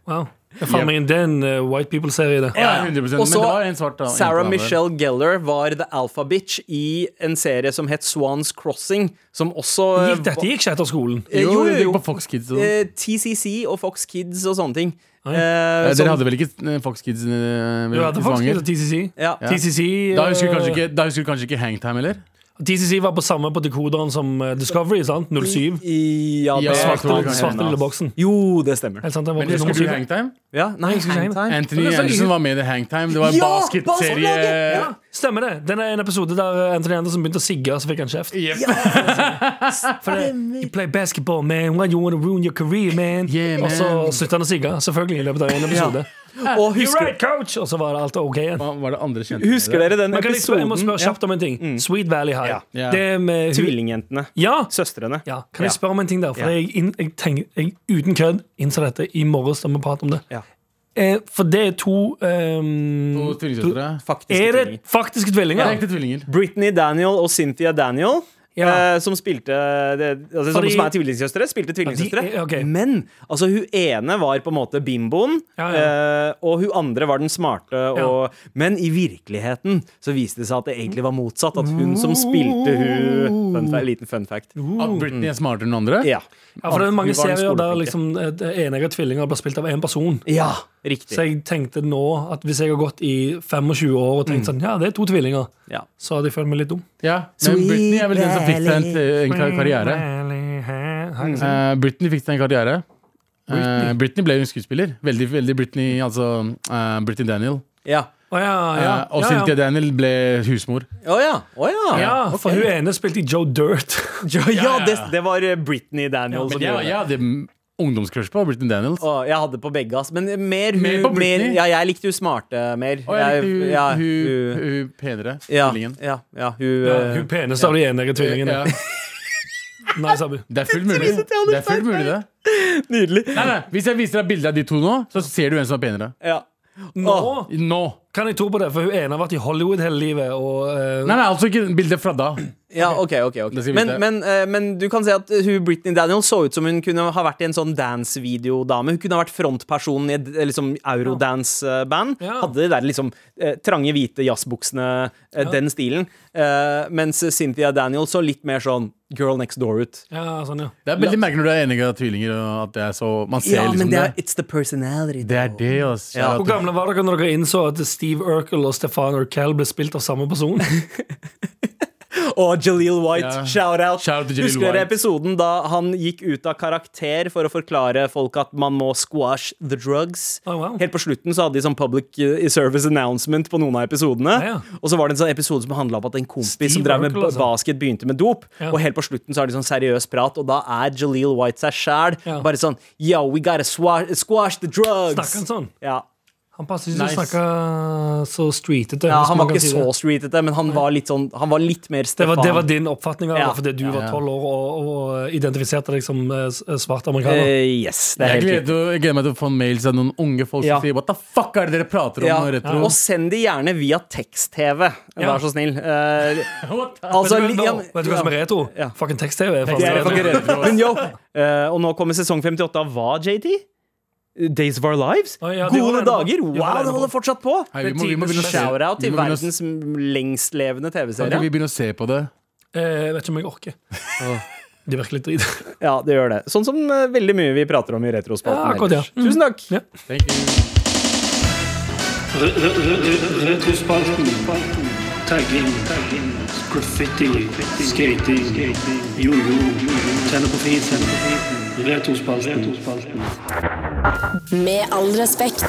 Speaker 3: Wow. Det er faen meg en- det er en eh, white people-serie, det.
Speaker 2: ja, 100%,
Speaker 4: Og så
Speaker 2: men det var en svart da, en
Speaker 4: Sarah
Speaker 2: blond der.
Speaker 4: Michelle Gellar var The Alpha Bitch i en serie som het Swans Crossing, som også eh,
Speaker 3: Gikk, dette gikk ikke etter skolen.
Speaker 4: Eh,
Speaker 2: Jo,
Speaker 4: jo,
Speaker 2: det
Speaker 4: jo.
Speaker 2: gikk på Fox Kids. Og.
Speaker 4: eh, TCC og Fox Kids og sånne ting.
Speaker 3: Mm. Oi.
Speaker 4: Eh,
Speaker 2: Eh,
Speaker 4: som-
Speaker 2: Dere hadde vel ikke eh, Fox Kids eh,
Speaker 3: Du hadde
Speaker 2: i
Speaker 3: faktisk
Speaker 2: Stavanger?
Speaker 3: litt TCC.
Speaker 4: Ja.
Speaker 3: TCC,
Speaker 2: Da husker du
Speaker 3: eh,
Speaker 2: kanskje ikke, da husker du kanskje ikke Hangtime heller?
Speaker 3: TCC var på samme på dekoderen som eh, Discovery, sant? 07.
Speaker 4: I- Ja,
Speaker 2: Ja,
Speaker 4: det
Speaker 2: jeg tror det
Speaker 3: Svarte,
Speaker 2: kan
Speaker 3: svarte
Speaker 2: hende,
Speaker 3: lille
Speaker 2: ass.
Speaker 3: boksen.
Speaker 4: Jo, det stemmer.
Speaker 3: Helt sant, det var
Speaker 2: Men
Speaker 3: på nummer
Speaker 2: husker du
Speaker 3: syv.
Speaker 2: Hangtime?
Speaker 4: Ja, nei,
Speaker 3: husker ikke jeg
Speaker 4: Hangtime.
Speaker 2: Anthony
Speaker 3: Men det er så
Speaker 2: Andersen
Speaker 3: gøy.
Speaker 2: var med i The Hangtime. Det var en
Speaker 4: Ja,
Speaker 2: basketserie.
Speaker 4: basketlaget!
Speaker 3: Ja, stemmer det. Den er en episode der eh, Anthony Anderson begynte å sigge, så fikk han kjeft.
Speaker 2: Yep.
Speaker 3: For det, You play basketball, man. Why you wanna ruin your career, man?
Speaker 2: Yeah,
Speaker 3: Og så
Speaker 2: man.
Speaker 3: slutta han å sigge, selvfølgelig, i løpet av en episode.
Speaker 4: Og
Speaker 3: You're
Speaker 4: husker,
Speaker 3: right, coach! Og så var det alt ok igjen.
Speaker 2: Hva var det andre kjente?
Speaker 4: husker dere den
Speaker 3: Men kan jeg, spørre, jeg må
Speaker 4: episoden?
Speaker 3: spørre kjapt om en ting. Sweet Valley High.
Speaker 4: Ja.
Speaker 2: Ja.
Speaker 3: Det med
Speaker 4: Tvillingjentene.
Speaker 3: Ja.
Speaker 4: Søstrene.
Speaker 3: ja! Kan jeg spørre om en ting der? For
Speaker 4: Ja.
Speaker 3: jeg, inn, jeg, tenker, jeg uten kødd innså dette i morges da vi pratet om det.
Speaker 4: Ja.
Speaker 3: Eh, for det er to ehm,
Speaker 2: To tvillingsøstre.
Speaker 4: Faktiske
Speaker 3: Er det
Speaker 4: tvillinger.
Speaker 3: faktiske
Speaker 2: Ja,
Speaker 3: tvillinger?
Speaker 2: Ekte tvillinger.
Speaker 4: Britney Daniel og Cynthia Daniel.
Speaker 3: Ja.
Speaker 4: eh, som spilte det, altså,
Speaker 3: Fordi-
Speaker 4: Som som er tvillingsøstre. Spilte tvillingsøstre.
Speaker 3: Ja, de er- ok.
Speaker 4: Men altså, hun ene var på en måte bimboen,
Speaker 3: Ja, ja.
Speaker 4: eh, og hun andre var den smarte. Og, Men i virkeligheten så viste det seg at det egentlig var motsatt. At hun som spilte hun fun fact, Liten fun fact.
Speaker 2: At Ah, Britney er smartere enn andre?
Speaker 4: Mm. Ja.
Speaker 3: Ja, for det er mange
Speaker 4: Vi var en
Speaker 3: serier der
Speaker 4: skoleflinke.
Speaker 3: liksom, eh, enegge tvillinger blir spilt av én person.
Speaker 4: ja,
Speaker 3: Så
Speaker 4: riktig.
Speaker 3: jeg tenkte nå at hvis jeg har gått i 25 år og tenkt sånn, ja, det er to tvillinger,
Speaker 4: Ja.
Speaker 3: så hadde jeg følt meg litt dum.
Speaker 2: Ja. Men
Speaker 4: Sweet
Speaker 2: Britney er vel den som fikk seg en,
Speaker 4: Valley.
Speaker 2: en kar- karriere.
Speaker 3: Mm,
Speaker 2: Eh, Britney fikk seg en karriere. Eh, Britney ble jo en skuespiller. Veldig, veldig Britney, altså eh, Britney Daniel.
Speaker 4: Ja.
Speaker 3: Å ja,
Speaker 2: Eh,
Speaker 3: ja.
Speaker 2: og
Speaker 3: ja,
Speaker 2: Cynthia
Speaker 3: ja.
Speaker 2: Daniel ble husmor.
Speaker 4: Å ja. Å ja.
Speaker 3: Ja, for
Speaker 4: ok.
Speaker 3: hun ene spilte i Joe Dirt.
Speaker 4: Ja, ja,
Speaker 2: ja.
Speaker 4: det, det var eh, Britney Daniel
Speaker 2: Men
Speaker 4: som gjorde
Speaker 2: jeg,
Speaker 4: det.
Speaker 2: jeg hadde ungdomscrush på Britney Daniels.
Speaker 4: Å, jeg hadde på begge, ass. Men mer, hun,
Speaker 2: Mer på
Speaker 4: mer
Speaker 2: Britney?
Speaker 4: Ja, jeg likte hun smarte mer.
Speaker 2: Og jeg likte hun,
Speaker 4: Jeg- ja,
Speaker 2: hun,
Speaker 4: hun-
Speaker 2: hun penere.
Speaker 4: ja,
Speaker 2: tvillingen.
Speaker 4: ja, ja, hun,
Speaker 3: Ja,
Speaker 4: eh,
Speaker 3: hun peneste av de enegge tvillingene.
Speaker 2: Ja.
Speaker 3: Nei, Sabu.
Speaker 2: Det er fullt mulig,
Speaker 4: at jeg hadde
Speaker 2: det. Er fullt mulig det.
Speaker 4: Nydelig.
Speaker 2: Nei, nei, hvis jeg viser deg bilde av de to nå, så ser du en som er penere.
Speaker 4: Ja.
Speaker 3: Nå
Speaker 4: Åh.
Speaker 2: Nå!
Speaker 3: kan jeg tro på det, for hun ene har vært i Hollywood hele livet. Og eh,
Speaker 2: Nei, nei, altså ikke bildet fra da.
Speaker 4: Ja, ok, ok, ok
Speaker 2: Det skal vi
Speaker 4: men,
Speaker 2: vite.
Speaker 4: men, eh, men du kan se at hun, Britney Daniels så ut som hun kunne ha vært i en sånn dance-videodame. Hun kunne ha vært frontpersonen i et eh, liksom, eurodance-band.
Speaker 3: Ja.
Speaker 4: Hadde de der liksom eh, trange, hvite jazzbuksene, eh, den stilen. Eh, mens Cynthia Daniels så litt mer sånn girl next door ut.
Speaker 3: Ja, sånn, ja.
Speaker 2: Det er veldig merkelig når du er enig av tvillinger. Og at det er så, man ser liksom det.
Speaker 4: it's the personality.
Speaker 2: Det er det, altså.
Speaker 4: Ja.
Speaker 2: At-
Speaker 3: Hvor gamle var dere når dere innså at Steve Urkel og Stefan Urkel ble spilt av samme person?
Speaker 4: Og Jaleel White,
Speaker 2: Ja.
Speaker 4: shout out.
Speaker 2: Shout out til Jaleel
Speaker 4: Husker dere
Speaker 2: White.
Speaker 4: episoden da han gikk ut av karakter for å forklare folk at man må squash the drugs?
Speaker 3: Oh, wow.
Speaker 4: Helt på slutten så hadde de sånn public eh, service announcement på noen av episodene.
Speaker 3: Ja, ja.
Speaker 4: Og så var det en sånn episode som handla om at en kompis
Speaker 3: Steve
Speaker 4: som drev med
Speaker 3: Urkel, altså.
Speaker 4: basket, begynte med dop.
Speaker 3: Ja.
Speaker 4: Og helt på slutten så har de sånn seriøs prat, og da er Jaleel White seg sjæl.
Speaker 3: Ja.
Speaker 4: Bare sånn Yo, we gotta swa- squash the drugs.
Speaker 3: Snakker han sånn?
Speaker 4: Ja.
Speaker 3: Han passer ikke til å
Speaker 2: Nice.
Speaker 3: snakke så streetete.
Speaker 4: ja,
Speaker 3: hvis
Speaker 4: han
Speaker 3: man
Speaker 4: var
Speaker 3: kan
Speaker 4: ikke
Speaker 3: si
Speaker 4: så
Speaker 3: det.
Speaker 4: streetete, men han var litt sånn Han var litt mer
Speaker 3: det
Speaker 4: Stefan.
Speaker 3: var, det var din oppfatning av det,
Speaker 4: Ja.
Speaker 3: fordi du var
Speaker 2: ja.
Speaker 3: tolv år og, og identifiserte deg som eh, s- svart amerikaner.
Speaker 4: Eh, yes, det er
Speaker 2: Jeg
Speaker 4: helt riktig.
Speaker 2: gleder, jeg gleder meg til å få en mail av noen unge folk
Speaker 4: Ja.
Speaker 2: som sier What the fuck er det dere prater om?
Speaker 4: Ja,
Speaker 2: nå, retro?
Speaker 4: Og send de gjerne via tekst-TV, vær så snill. Eh, altså,
Speaker 3: vet, du,
Speaker 4: li-
Speaker 3: hva-
Speaker 4: ja,
Speaker 3: nå, vet du hva som er retro?
Speaker 4: Ja.
Speaker 3: Fucking tekst-TV. er faen
Speaker 4: Det er
Speaker 3: retro.
Speaker 4: faktisk retro. Men yo, eh, og nå kommer sesong 58 av hva, JT? Days of Our Lives?
Speaker 3: Å, ja, det
Speaker 4: Gode
Speaker 3: holder ennå på.
Speaker 4: dager!
Speaker 3: Det
Speaker 4: Wow,
Speaker 3: holder
Speaker 4: det
Speaker 3: ennå
Speaker 4: holder
Speaker 3: på.
Speaker 4: fortsatt på!
Speaker 2: Hei, vi, må, vi må begynne å se
Speaker 4: Shout-out
Speaker 2: vi
Speaker 4: til
Speaker 2: må begynne å-
Speaker 4: verdens lengstlevende
Speaker 2: Kan ikke
Speaker 4: TV-serie.
Speaker 2: vi begynne å se på det?
Speaker 3: Eh, vet ikke om jeg orker. Det virker litt drit.
Speaker 4: Ja, det gjør det. Sånn som eh, veldig mye vi prater om i
Speaker 3: Ja,
Speaker 4: Retrospalten.
Speaker 3: akkurat, ja.
Speaker 4: ellers. Tusen takk!
Speaker 3: Ja.
Speaker 2: Thank you.
Speaker 5: Re- re- re- re- Retrospalten. Tagging. Graffiti. Skating. Jojo. Tenner på fisen. Retrospalten.
Speaker 6: Med all respekt.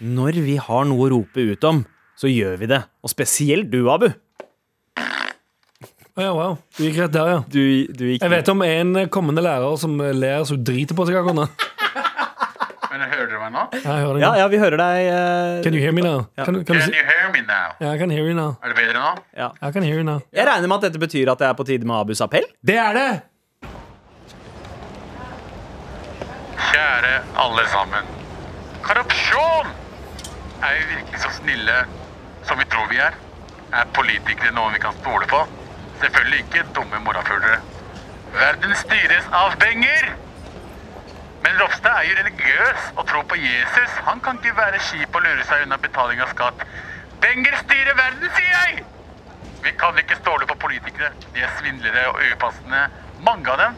Speaker 4: Når vi har noe å rope ut om, så gjør vi det. Og spesielt du, Abu.
Speaker 3: Å ja, wow. Du gikk rett der, ja.
Speaker 4: Du, du gikk
Speaker 3: Jeg vet om en kommende lærer som eh, ler så hun driter på seg akkurat nå.
Speaker 8: Men hører dere meg nå?
Speaker 3: Ja, jeg hører
Speaker 4: Ja,
Speaker 3: deg.
Speaker 4: ja, vi hører deg. eh,
Speaker 3: Can you hear me now? Kan, kan du
Speaker 8: Can
Speaker 3: si?
Speaker 8: you hear me now?
Speaker 3: Ja, I can hear you now.
Speaker 8: Er det bedre nå?
Speaker 3: I can hear you now.
Speaker 4: Jeg regner med at dette betyr at det er på tide med Abus appell.
Speaker 2: Det er det!
Speaker 8: Kjære alle sammen. Korrupsjon! Er vi virkelig så snille som vi tror vi er? Er politikere noen vi kan stole på? Selvfølgelig ikke dumme morafuglere. Verden styres av penger! Men Ropstad er jo religiøs og tror på Jesus. Han kan ikke være kjip og lure seg unna betaling av skatt. Penger styrer verden, sier jeg! Vi kan ikke stole på politikere. De er svindlere og upassende. Mange av dem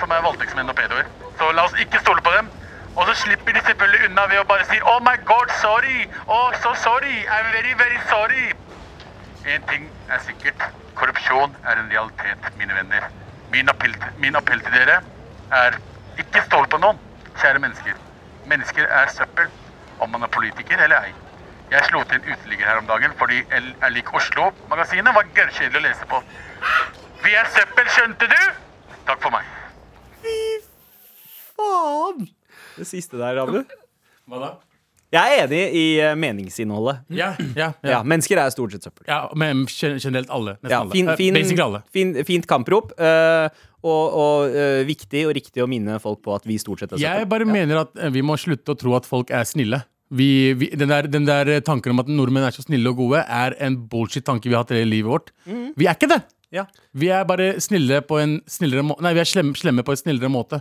Speaker 8: som er voldtektsmenn og pedoer. Så la oss ikke stole på dem. Og så slipper de selvfølgelig unna ved å bare si Oh my God, sorry! Oh, so sorry! I'm very, very sorry! En ting er sikkert. Korrupsjon er en realitet, mine venner. Min appell, min appell til dere er ikke stål på noen, kjære mennesker. Mennesker er søppel, om man er politiker eller ei. Jeg slo til en uteligger her om dagen fordi L er lik Oslo-magasinet var gørrkjedelig å lese på. Vi er søppel, skjønte du? Takk for meg.
Speaker 4: Faen! Det siste der, Abu.
Speaker 2: Hva da?
Speaker 4: Jeg er enig i eh, meningsinnholdet.
Speaker 2: Ja, ja,
Speaker 4: Ja,
Speaker 2: ja.
Speaker 4: Mennesker er stort sett søppel.
Speaker 2: ja men gen- generelt alle. Nesten
Speaker 4: Ja,
Speaker 2: alle.
Speaker 4: fin,
Speaker 2: Eh,
Speaker 4: fin,
Speaker 2: Basically alle.
Speaker 4: fin, fint kamprop. eh, og og eh, viktig og riktig å minne folk på at vi stort sett er
Speaker 2: Jeg
Speaker 4: søppel.
Speaker 2: bare mener at eh, vi må slutte å tro at folk er snille. Vi, vi, den, der, den der eh, tanken om at nordmenn er så snille og gode, er en bullshit-tanke vi har hatt i livet vårt. Vi er ikke det!
Speaker 4: Ja.
Speaker 2: Vi er bare snille på en snillere må Nei, vi er slemme, slemme på en snillere måte.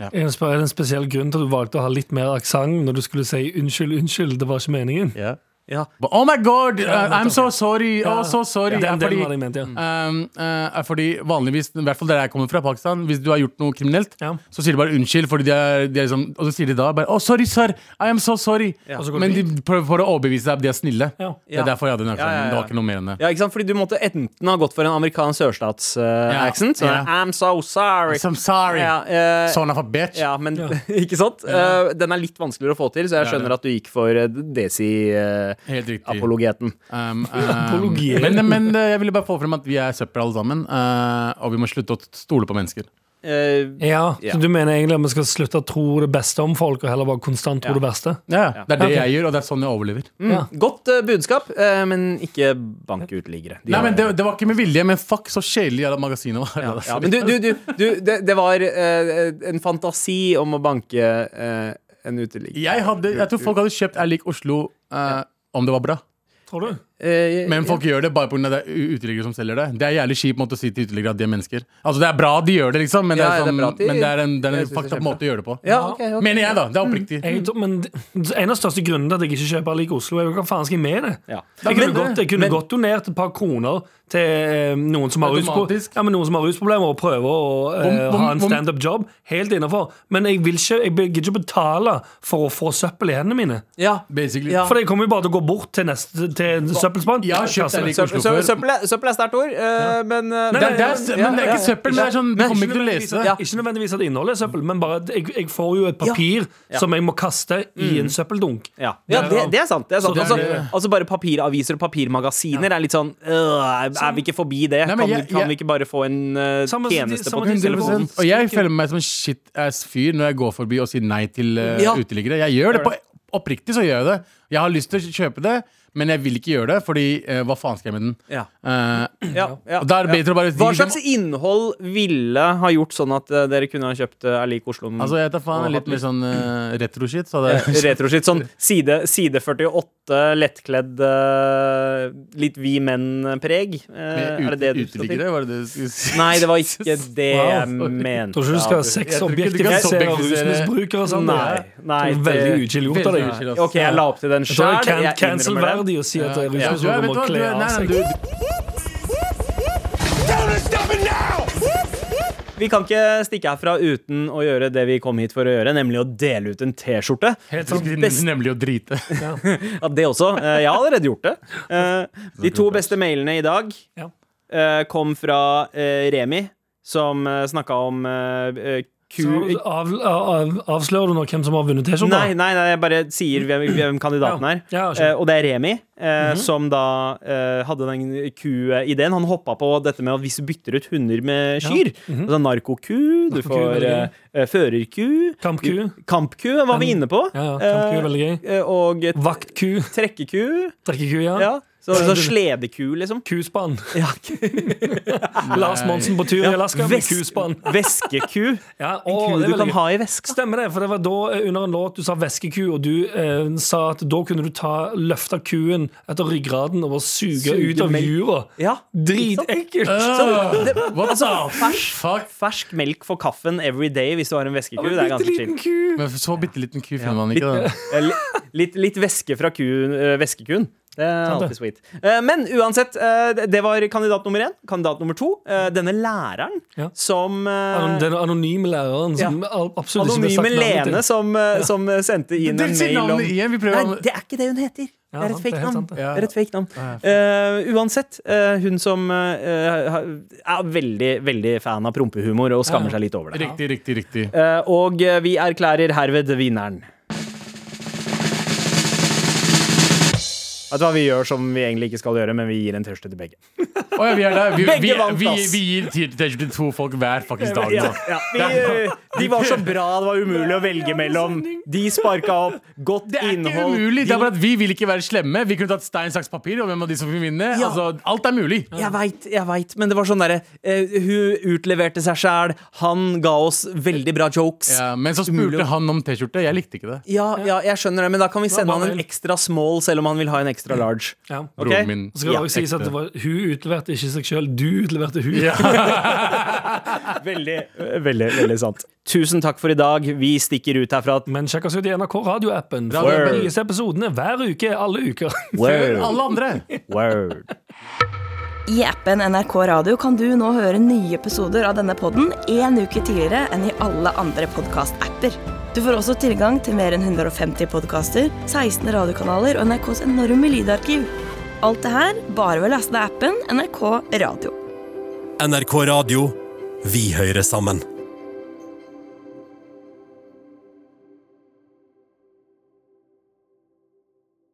Speaker 3: Er det en spe- er det en spesiell grunn til at du valgte å ha litt mer aksent når du skulle si unnskyld, unnskyld, det var ikke meningen?
Speaker 4: Ja.
Speaker 2: But, oh my god! uh, I'm so sorry! Oh, so sorry!
Speaker 3: Den
Speaker 2: Ja,
Speaker 3: delen
Speaker 2: fordi-
Speaker 3: var det jeg mente, ja.
Speaker 2: Um, eh, er fordi vanligvis, i hvert fall der jeg kommer fra, Pakistan, hvis du har gjort noe kriminelt,
Speaker 3: Ja.
Speaker 2: så sier de bare unnskyld, fordi de er, de er liksom, og så sier de da bare oh, sorry, sir, I am so sorry.
Speaker 3: Og så går
Speaker 2: Men
Speaker 3: det
Speaker 2: de prøver for å overbevise deg at de er snille.
Speaker 3: Ja.
Speaker 2: Det
Speaker 4: Ja.
Speaker 2: er derfor jeg hadde den aksjonen.
Speaker 4: Ja, ja, ja.
Speaker 2: Det var ikke noe mer enn det.
Speaker 4: ja, ikke sant? Fordi du måtte enten ha gått for en amerikansk
Speaker 2: Ja.
Speaker 4: sørstatsaksen. eh,
Speaker 2: Ja.
Speaker 4: I'm so sorry.
Speaker 2: I'm sorry, Sånn.
Speaker 4: Ja, eh,
Speaker 2: son of a bitch.
Speaker 4: Ja, men ikke sant? Eh, den er litt vanskeligere å få til, så jeg
Speaker 2: Det er
Speaker 4: skjønner
Speaker 2: det.
Speaker 4: at du gikk for eh,
Speaker 2: Helt riktig.
Speaker 4: Desi-apologeten.
Speaker 2: Um, uh, um,
Speaker 3: Apologi.
Speaker 2: uh, men, men eh, jeg ville bare få frem at vi er søppel alle sammen, eh, og vi må slutte å stole på mennesker.
Speaker 4: eh,
Speaker 3: Ja,
Speaker 4: Ja.
Speaker 3: Så du mener egentlig at vi skal slutte å tro det beste om folk, og heller bare konstant tro
Speaker 4: Ja.
Speaker 3: det verste?
Speaker 2: Ja, det er det
Speaker 3: Ok.
Speaker 2: jeg gjør, og det er sånn jeg overlever.
Speaker 3: Ja.
Speaker 4: Godt eh, budskap, eh, men ikke bank uteliggere. De
Speaker 2: Nei,
Speaker 4: har-
Speaker 2: men det, det var ikke med vilje, men fuck så kjedelig jævla magasinet var.
Speaker 4: ja, ja, men du, du, du, du det, det var eh, en fantasi om å banke eh, en uteligger.
Speaker 2: jeg, hadde, jeg tror folk hadde kjøpt Er lik Oslo eh, om det var bra.
Speaker 3: Tror du?
Speaker 4: Eh,
Speaker 2: Men folk gjør det bare pga. det er u- uteliggere som selger det. Det er jævlig kjip måte å si til uteliggere at de er mennesker. Altså Det er bra de gjør det, liksom, men,
Speaker 4: Ja,
Speaker 2: det, er
Speaker 4: det er
Speaker 2: sånn,
Speaker 4: bra at de-
Speaker 2: men det er en, det er
Speaker 4: Jeg
Speaker 2: en
Speaker 4: synes det
Speaker 2: fucked
Speaker 4: er
Speaker 2: up måte å gjøre det på.
Speaker 4: ja, Mm. ok, ok.
Speaker 2: Mener jeg, da. Det er oppriktig.
Speaker 3: Jeg, tror- men det- en av de største grunnene til at jeg ikke kjøper Like Oslo, er jo hva faen skal jeg med det? Jeg
Speaker 4: Ja.
Speaker 3: kunne,
Speaker 4: Men-
Speaker 3: godt, jeg kunne
Speaker 4: men-
Speaker 3: godt donert et par kroner til eh, noen som har, ruspro
Speaker 2: Automatisk.
Speaker 3: ja, men noen som har rusproblemer, og prøve å eh,
Speaker 2: Hvor- hvor-
Speaker 3: ha en
Speaker 2: hvor-
Speaker 3: standup-job. Helt innafor. Men jeg vil ikke, jeg gidder ikke betale for å få søppel i hendene mine.
Speaker 4: ja.
Speaker 2: Basically.
Speaker 4: Ja.
Speaker 3: For jeg kommer jo bare til å gå bort til, neste, til søppelspann.
Speaker 2: Jeg har kjøpt en
Speaker 3: Kasse.
Speaker 2: Like Oslo
Speaker 4: Søppel, søppel,
Speaker 2: før.
Speaker 4: søppel, er- søppel er sterkt ord, eh, men
Speaker 2: Det er,
Speaker 3: Nei,
Speaker 4: eh,
Speaker 2: det er,
Speaker 4: ja,
Speaker 2: men det er ikke
Speaker 4: ja.
Speaker 2: søppel. Men det er sånn, du
Speaker 4: Men-
Speaker 2: kommer ikke til å lese det.
Speaker 4: Ja.
Speaker 3: Ikke nødvendigvis at innholdet er søppel, men bare at jeg, jeg får jo et papir
Speaker 4: Ja. Mm.
Speaker 3: som jeg må kaste i en søppeldunk.
Speaker 4: Ja, ja det, det er sant. Det er
Speaker 3: Så
Speaker 4: sant.
Speaker 3: det
Speaker 4: Altså,
Speaker 3: er det-
Speaker 4: altså bare papiraviser og papirmagasiner er litt sånn øh, Er er vi ikke forbi det?
Speaker 2: Nei, men
Speaker 4: Kan, vi-
Speaker 2: jeg-
Speaker 4: kan
Speaker 2: jeg-
Speaker 4: vi ikke bare få en eh,
Speaker 3: Samme-
Speaker 4: tjeneste på
Speaker 3: samme-
Speaker 4: telefonen?
Speaker 2: 100% Og jeg føler meg som en shit-ass fyr når jeg går forbi og sier nei til eh,
Speaker 4: Ja.
Speaker 2: uteliggere. Jeg gjør det på Oppriktig så gjør jeg det. Jeg har lyst til å kjøpe det, men jeg vil ikke gjøre det, fordi eh, hva faen skal jeg med den?
Speaker 4: Ja.
Speaker 2: Eh,
Speaker 4: Ja, ja,
Speaker 2: og da er det bedre å
Speaker 4: ja.
Speaker 2: bare si
Speaker 4: Hva
Speaker 2: liksom,
Speaker 4: slags innhold ville ha gjort sånn at eh, dere kunne ha kjøpt uh, Er lik Oslo?
Speaker 2: Altså, jeg tar faen litt mer sånn eh, retro-shit. Så det er
Speaker 4: Retroskitt. Sånn side, side 48, lettkledd, eh, litt vi menn-preg. Eh, er det det du skal til?
Speaker 2: uteliggere, var det det du skulle si?
Speaker 4: Nei, det var ikke det jeg
Speaker 2: Wow.
Speaker 4: mente.
Speaker 3: Tror ikke du
Speaker 2: tror ikke du
Speaker 3: skal
Speaker 2: kan
Speaker 3: sexobjektifisere
Speaker 2: objektifisere-
Speaker 3: rusmisbrukere. og sånn.
Speaker 4: Nei, nei,
Speaker 3: Det er
Speaker 4: det-
Speaker 3: Veldig uchill gjort av
Speaker 2: Veldig
Speaker 3: deg.
Speaker 2: uteliggere, altså.
Speaker 4: Ok, jeg la opp til den
Speaker 3: Jeg tror det
Speaker 4: sjøl.
Speaker 3: er can cancel-verdig å si at
Speaker 2: Ja, ja. Du er-
Speaker 3: rusmisbrukere
Speaker 2: vet du
Speaker 3: må
Speaker 2: hva, du
Speaker 3: kle
Speaker 2: er- nei, nei,
Speaker 3: av seg.
Speaker 2: du-
Speaker 4: Vi kan ikke stikke herfra uten å gjøre det vi kom hit for å gjøre, nemlig å dele ut en T-skjorte.
Speaker 2: Du skulle
Speaker 4: Best-
Speaker 2: Nemlig å drite.
Speaker 4: Ja, det også. Eh, Jeg har allerede gjort det. Eh, De to beste mailene i dag
Speaker 3: Ja.
Speaker 4: eh, kom fra eh, Remi, som eh, snakka om eh, eh, ku...
Speaker 3: Så av, av, avslører du nå hvem som har vunnet T-skjorta?
Speaker 4: Nei, nei, nei, jeg bare sier hvem, hvem kandidaten er.
Speaker 3: Ja, skjønner. Mhm.
Speaker 4: Eh, og det er Remi, eh, som da eh, hadde den ku-ideen. Han hoppa på dette med at hvis du bytter ut hunder med kyr altså Narkoku, du
Speaker 3: Mhm. Narkoku,
Speaker 4: får
Speaker 3: veldig
Speaker 4: eh, eh, førerku
Speaker 3: Kampku.
Speaker 4: Kampku var vi inne på.
Speaker 3: Ja, ja, kampku er veldig gøy.
Speaker 4: Eh, eh, og eh,
Speaker 3: Vaktku,
Speaker 4: trekkeku.
Speaker 3: drikkeku, ja.
Speaker 4: Ja. Så,
Speaker 3: Ja,
Speaker 4: så
Speaker 3: det-
Speaker 4: sledeku, liksom.
Speaker 3: Kuspann.
Speaker 4: Ja.
Speaker 3: Lars Monsen på tur i Alaska med
Speaker 4: Ves-
Speaker 3: kuspann.
Speaker 4: Væskeku.
Speaker 3: Ja, å,
Speaker 4: En ku
Speaker 3: det er
Speaker 4: du kan
Speaker 3: veldig gøy.
Speaker 4: ha i veska.
Speaker 3: Stemmer det, for det var da eh, under en låt du sa væskeku, og du eh, sa at da kunne du ta, løfte kuen etter ryggraden og bare suge
Speaker 4: Suge
Speaker 3: ut av
Speaker 4: melk.
Speaker 3: jura.
Speaker 4: Ja.
Speaker 3: Dritekkelt! Ah.
Speaker 4: Så det,
Speaker 2: What the
Speaker 4: fersk,
Speaker 2: fuck?
Speaker 4: fersk melk for kaffen every day hvis du har en væskeku. Det er
Speaker 3: Bitte
Speaker 4: ganske chill.
Speaker 3: liten ku.
Speaker 2: Men så bitte liten ku finner man ikke, da.
Speaker 4: Eh, li- Litt, litt væske fra kuen, eh, væskekuen. Det er alltid sweet. Eh, Men uansett, eh, det- det var kandidat nummer én. Kandidat nummer to, eh, denne læreren
Speaker 3: Ja.
Speaker 4: som eh,
Speaker 3: Den anonyme læreren som al- absolutt ikke ble
Speaker 4: Anonyme
Speaker 3: sagt navnet
Speaker 4: Lene
Speaker 3: til.
Speaker 4: som, eh, som eh, sendte inn en
Speaker 2: Dere sier
Speaker 4: mail om
Speaker 2: navnet igjen, vi prøver
Speaker 4: Nei,
Speaker 2: å-
Speaker 4: det er ikke det hun heter.
Speaker 3: Ja,
Speaker 4: det er et
Speaker 3: sant, det
Speaker 4: fake
Speaker 3: er helt
Speaker 4: navn.
Speaker 3: sant, det.
Speaker 4: Det er et fake navn. Eh, uansett, eh, hun som eh, ha- er veldig, veldig fan av prompehumor og skammer
Speaker 3: Ja.
Speaker 4: seg litt over det.
Speaker 2: Riktig, riktig, riktig.
Speaker 4: Eh, og eh, vi erklærer herved vinneren. Vet du hva vi gjør som vi egentlig ikke skal gjøre, men vi gir en T-skjorte til begge.
Speaker 2: Å ja, vi er der. Vi,
Speaker 4: Begge
Speaker 2: vi,
Speaker 4: vant,
Speaker 2: vi,
Speaker 4: ass.
Speaker 2: vi gir ti- T-skjorte til to folk hver fuckings dag
Speaker 4: Ja,
Speaker 2: nå.
Speaker 4: ja. Vi, eh, de var så bra det var umulig å velge mellom. De sparka opp. Godt
Speaker 2: Det er ikke
Speaker 4: innhold.
Speaker 2: umulig. Det
Speaker 4: De-
Speaker 2: er bare at Vi vil ikke være slemme. Vi kunne tatt stein, saks, papir, og hvem av de som vil vinne.
Speaker 4: Ja.
Speaker 2: Altså, alt er mulig.
Speaker 4: Jeg veit, jeg veit, men det var sånn derre eh, Hun utleverte seg sjæl, han ga oss veldig bra jokes. Ja.
Speaker 2: Ja, men så
Speaker 4: Umulig
Speaker 2: spurte
Speaker 4: å-
Speaker 2: han om T-skjorte. Jeg likte ikke det.
Speaker 4: Ja, jeg skjønner det, men da kan vi sende
Speaker 3: bare
Speaker 4: han en
Speaker 3: mail.
Speaker 4: ekstra small, selv om han vil ha en ekstra large.
Speaker 3: Ja.
Speaker 4: Ok?
Speaker 2: Broren min.
Speaker 3: Så skal det
Speaker 4: Ja,
Speaker 3: også sies at det var, hun utleverte ikke seg sjøl, du utleverte hun.
Speaker 4: Veldig, veldig, veldig sant. Tusen takk for i dag. Vi stikker ut herfra.
Speaker 3: Men sjekk oss ut i NRK radioappen. For
Speaker 4: Word.
Speaker 3: de nyeste episodene hver uke, alle uker.
Speaker 4: Word.
Speaker 2: Alle andre.
Speaker 4: Word.
Speaker 9: I appen NRK Radio kan du nå høre nye episoder av denne podden en uke tidligere enn i alle andre podcast-apper. Du får også tilgang til mer enn 150 podcaster, 16 radiokanaler og NRKs enorme lydarkiv. Alt det her bare ved å laste ned appen NRK Radio.
Speaker 10: NRK Radio. Vi hører sammen.